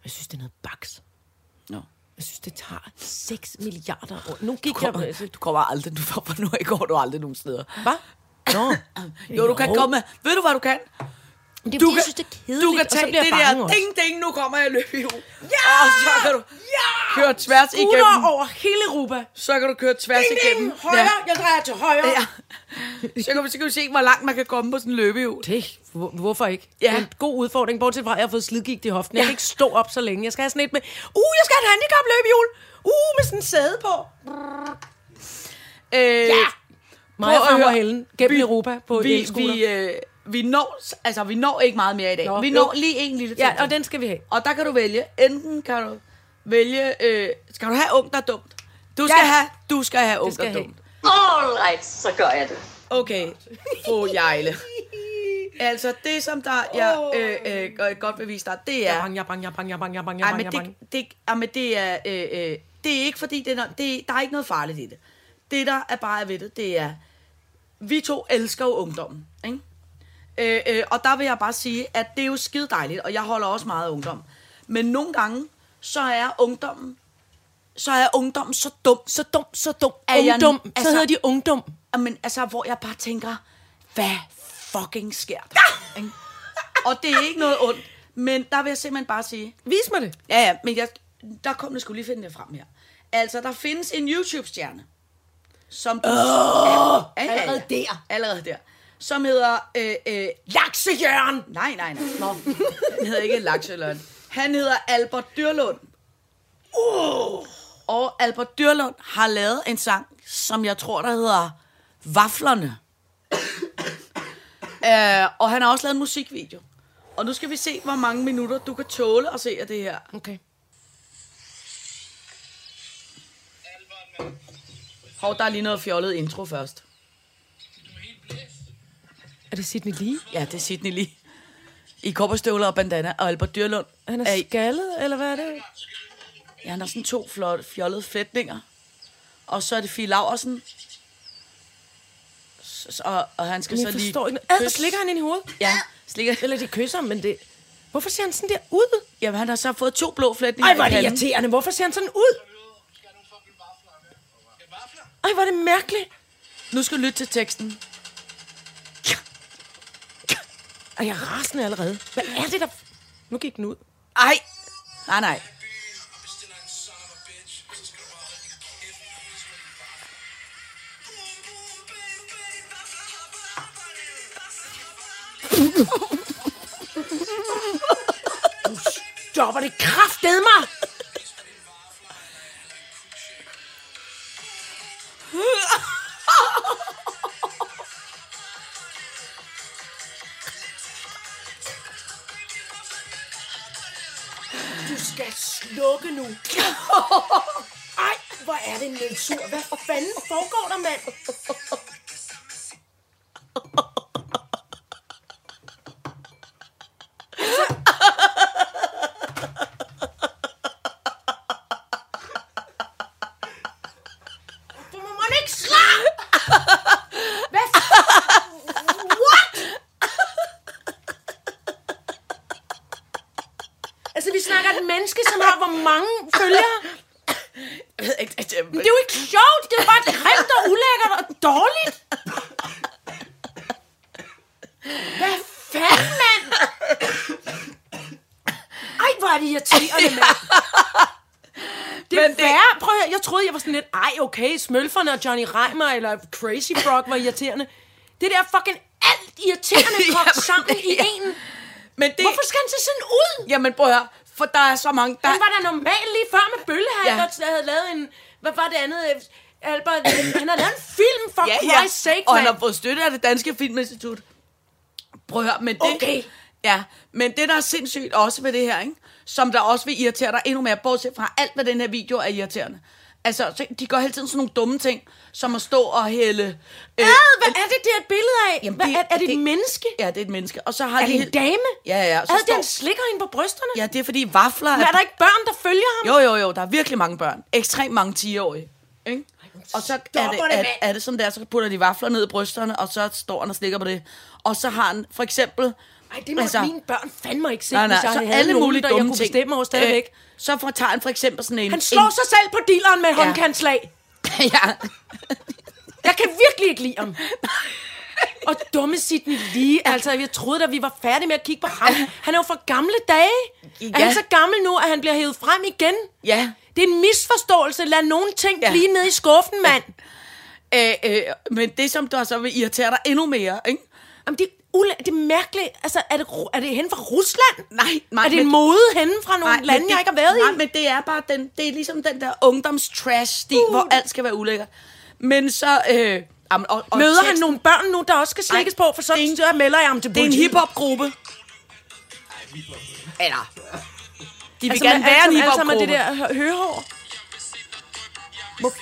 Jeg synes, det er noget baks. No. Jeg synes, det tager 6 milliarder år. Nu gik Du, jeg... kommer, du kommer aldrig, du fra nu af går du aldrig nogen steder. Hvad? Nå. Jo, du kan komme. Ved du, hvad du kan? Men Det er, Du du kan, jeg kan- synes, det er kedeligt, Du kan tage og så bliver det jeg bange der også. ding ding, nu kommer jeg løb i hovedet. Ja! Og så kan du ja! køre tværs Uder igennem. over hele Europa. Så kan du køre tværs Ding, igennem. ding, højre, Ja. jeg drejer til højre. Ja. Så, kan, så kan vi se, hvor langt man kan komme på sådan en løbehjul. Det, hvor- hvorfor ikke? Ja. Det er en god udfordring, bortset fra, at jeg har fået slidgigt i hoften. Jeg kan ikke stå op så længe. Jeg skal have sådan et med, uh, jeg skal have et handicapløbehjul. Uh, med sådan en sæde på. Øh, ja. Mig at og høre, Helen gennem vi- Europa på et vi, elskuter. vi, øh, vi, når, altså, vi når ikke meget mere i dag. Nå, Nå, vi jo. når lige en lille ting. Ja, og den skal vi have. og der kan du vælge. Enten kan du vælge, øh, skal du have ung, der er dumt? Du skal Ja. have, du skal have ung, skal der er jeg dumt. Alright, så gør jeg det. Okay, fru Jejle. Altså, det som der, jeg øh, øh, godt- godt vil vise dig, det Jeg er... er bange, jeg er bange, jeg er bange, jeg er bange, jeg er bange, jeg er Ej, bange, men jeg er bange. det, det, ej, men det er... Øh, øh, det er ikke fordi, det er, no- det, der er ikke noget farligt i det. Det, der er bare ved det, det er... Vi to elsker jo ungdommen, ikke? Øh, øh, og der vil jeg bare sige, at det er jo skide dejligt, og jeg holder også meget af ungdom. Men nogle gange, så er ungdommen så er ungdommen så dum, Så dum, så dum. Er jeg- Ungdom. Så altså- hedder de ungdom. Jamen, altså, hvor jeg bare tænker, hvad fucking sker der? Ikke? og det er ikke noget ondt, men der vil jeg simpelthen bare sige, Vis mig det. ja, ja, men jeg, der kom det skulle lige finde det frem her. Altså, der findes en YouTube-stjerne, som du... Oh, ja, ja, ja, allerede der. Allerede der. Som hedder... Øh, øh, Laksejørn. nej, nej, nej. Nå, han hedder ikke Lakselund. Han hedder Albert Dyrlund. Uh. Og Albert Dyrlund har lavet en sang, som jeg tror, der hedder Vaflerne. (coughs) Øh, og han har også lavet en musikvideo. Og nu skal vi se, hvor mange minutter du kan tåle at se af det her. Okay. Hov, der er lige noget fjollet intro først. Er det Sidney Lee? Ja, det er Sydney lige. I kopperstøvler og bandana, og Albert Dyrlund. Han er er, i- skaldet, eller hvad er det? ja, han har sådan to flotte, fjollede flætninger. Og så er det Fie Laversen. S- s- Og, og han skal Men så jeg lige... forstår ikke. noget. Ad, kysse- slikker han ind i hovedet? Ja, slikker. Eller de kysser, men det... Hvorfor ser han sådan der ud? Jamen, han har så fået to blå flætninger Ej, hvor er i det panden. irriterende. Hvorfor ser han sådan ud? Ej, hvor er det mærkeligt. Nu skal du lytte til teksten. Ej, jeg er rasende allerede. Hvad er det der... Nu gik den ud. Ej! Nej, nej. Stopper det kraftede mig! Du skal slukke (laughs) nu. Ej, hvor er det nedsur. Hvad fanden foregår der, mand? Du må man ikke slå! Hvad f- What? Altså, vi snakker et menneske, som har hvor mange følgere. Jeg ved ikke, det, det, Men det er jo ikke sjovt. Det er jo bare grimt og ulækkert og dårligt. Hvad fanden, mand? Ej, hvor er det irriterende, mand. Det er Men det- fair. Prøv at, høre, jeg troede, jeg var sådan lidt, ej, okay, Smølferne og Johnny Reimer eller Crazy Frog var irriterende. Det der er fucking alt irriterende kogt Jamen, sammen i (laughs) ja. en. men det, Hvorfor skal han se sådan ud? Jamen prøv at høre, for der er så mange, der... Han var da normal lige før med Bøllehat, Ja. ja. der havde lavet en... Hvad var det andet? øh, Albert, han har lavet en film, for ja, Christ's sake, og han mand. har fået støtte af det danske filminstitut. Prøv at høre, men det... Okay. Ja, men det, der er sindssygt også ved det her, ikke? som der også vil irritere dig endnu mere, bortset fra alt, hvad den her video er irriterende. Altså, så- de gør hele tiden sådan nogle dumme ting, som at stå og hælde... Øh, Ad, hvad er det, det er et billede af? Jamen, Jamen, hvad, det- er, er det, det- et menneske? ja, det er et menneske. Og så har Er de det en helt- dame? Ja, ja, og så Ad, står- den slikker hende på brysterne. Ja. Ja, det er fordi vafler... Men er der ikke børn, der følger ham? Jo, jo, jo, der er virkelig mange børn. Ekstremt mange 10-årige. Ikke? Og så er det, det, er, mand. er det sådan der, så putter de vafler ned i brysterne, og så står han og slikker på det. Og så har han for eksempel... Ej, det må altså, mine børn fandme ikke se, nej, nej, hvis jeg så havde alle nogen, mulige der dumme jeg kunne ting. bestemme over stadigvæk. Øh, så får, tager han for eksempel sådan en... han slår sig selv på dealeren med et Ja. ja. håndkantslag. en, (laughs) ja. Jeg kan virkelig ikke lide ham. (laughs) Og dumme Sidney lige. Altså, jeg troede da, vi var færdige med at kigge på ham. Han er jo fra gamle dage. Ja. Er Ja. han så gammel nu, at han bliver hævet frem igen? Ja. Det er en misforståelse. Lad nogle ting Ja. ja. blive nede i skuffen, mand. Øh, øh, men det, som der så vil irritere dig endnu mere, ikke? Jamen, det, er ula- det er mærkeligt. Altså, er det, ru- er det henne fra Rusland? Nej, nej, Er det en men- mode henne fra nogle men lande, jeg ikke har været nej, i? men det er bare den, det er ligesom den der ungdomstrash-stil, uh. hvor alt skal være ulækkert. Men så... Øh, jamen, og, og Møder han teksten- nogle børn nu, der også skal slikkes Nej, på, for sådan det er en en- større melder jeg ham til Det er en politiet. hiphop-gruppe. Eller... De vil Altså, gerne med være en alt sammen- hiphop-gruppe. Alt sammen er det der hø- høhår. Hvor,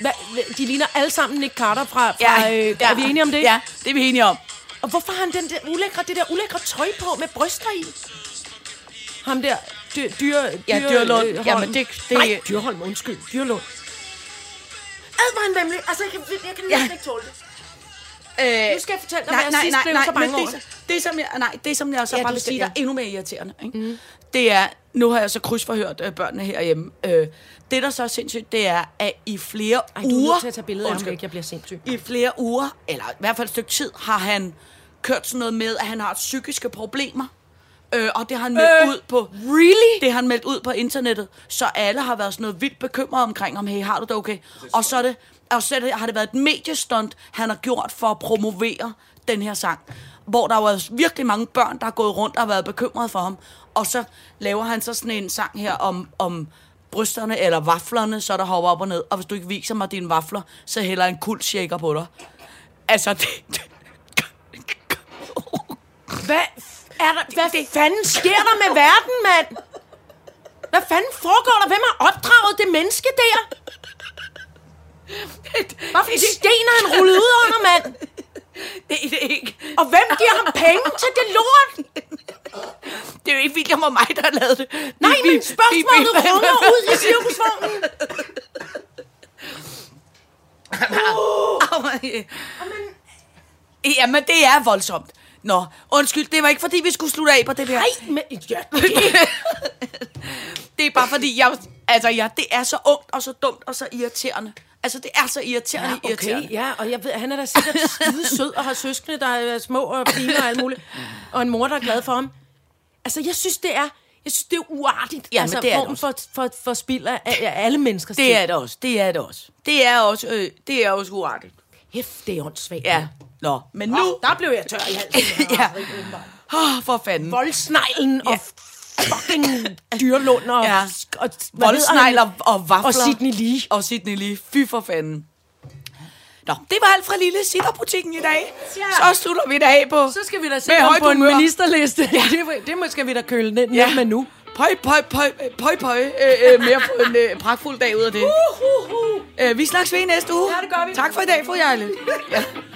hvad, hvad- de ligner alle sammen Nick Carter fra... fra ja, øh, ja. Er vi enige om det? Ja, det er vi enige om. Og hvorfor har han den der ulækre, det der ulækre tøj på med bryster i? Ham der dyr, dyr, Ja, dyr, Dyrlund. Holm. Jamen, det- det- Nej, Dyrholm, undskyld. Dyrlund. Ad, hvor er han vemmelig. Altså, jeg kan, jeg kan næsten Ja. ikke tåle det. Øh, Nu skal jeg fortælle dig, hvad jeg sidst blev så bange men over. det, det, som jeg, nej, det som jeg så ja, Ja, bare du vil skal- sige, der er ja. endnu mere irriterende, ikke? Mm. det er, nu har jeg så krydsforhørt øh, børnene herhjemme. Øh, det, der så er sindssygt, det er, at i flere Ej, du er uger... nødt til at tage billeder af ham, Undskyld. ikke? Jeg bliver sindssyg. i flere uger, eller i hvert fald et stykke tid, har han kørt sådan noget med, at han har psykiske problemer. Øh, og det har han meldt øh, Øh, ud på... really? Det har han meldt ud på internettet, så alle har været sådan noget vildt bekymret omkring ham. Hey, har du det okay? Og så, er det, og så er det, har det været et mediestunt, han har gjort for at promovere den her sang. Hvor der var virkelig mange børn, der har gået rundt og har været bekymret for ham. Og så laver han så sådan en sang her om, om brysterne eller vaflerne, så der hopper op og ned. Og hvis du ikke viser mig dine vafler, så hælder jeg en kuldshaker på dig. Altså, (laughs) det, det, Hvad, f- er der, hvad det, fanden sker der med verden, mand? Hvad fanden foregår der? Hvem har opdraget det menneske der? Hvorfor sten har han rullet ud under, mand? det, det, er ikke, Og hvem giver ham penge til det lort? det er jo ikke William og mig, der har lavet det. Nej, Vi- men vi- spørgsmålet vi- vi- runger ud i cirkusvognen. Jamen, det er voldsomt. Nå, undskyld, det var ikke fordi, vi skulle slutte af på det der. Nej, men... Ja, (laughs) Det er bare fordi, jeg, altså, ja, det er så ungt og så dumt og så irriterende. Altså, det er så irriterende, Ja, irriterende. okay, ja, og jeg ved, han er da sikkert skide sød og har søskende, der er små og piger og alt muligt. Og en mor, der er glad for ham. Altså, jeg synes, det er, jeg synes, det er uartigt. Ja, men altså, det er det form for, for, for spild af, af alle mennesker. Det er det også, det er det også. Det er også, øh, det er også uartigt. Hæft, det er åndssvagt. Ja, nå, men nu... Nu, Ah, der blev jeg tør i halsen. (laughs) ja. Åh, oh, for fanden. Voldsneglen ja. og fucking dyrlund og... Ja. og hvad Voldsnegl hedder han? og, og vafler. Og Sidney Lee. Og Sidney Lee. Fy for fanden. Nå, det var alt fra lille Sitterbutikken i dag. Ja. Så slutter vi i dag på... Så skal vi da se Med ham højt på en humør. ministerliste. Ja. Det, det må- skal vi da køle ned ja. med nu. pøj, pøj, pøj, pøj, pøj, øh, øh, mere på en øh, pragtfuld dag ud af det. Uh, uh, uh. Øh, vi snakkes ved i næste uge. Ja, det gør vi. Tak for i dag, fru Jejle. Ja.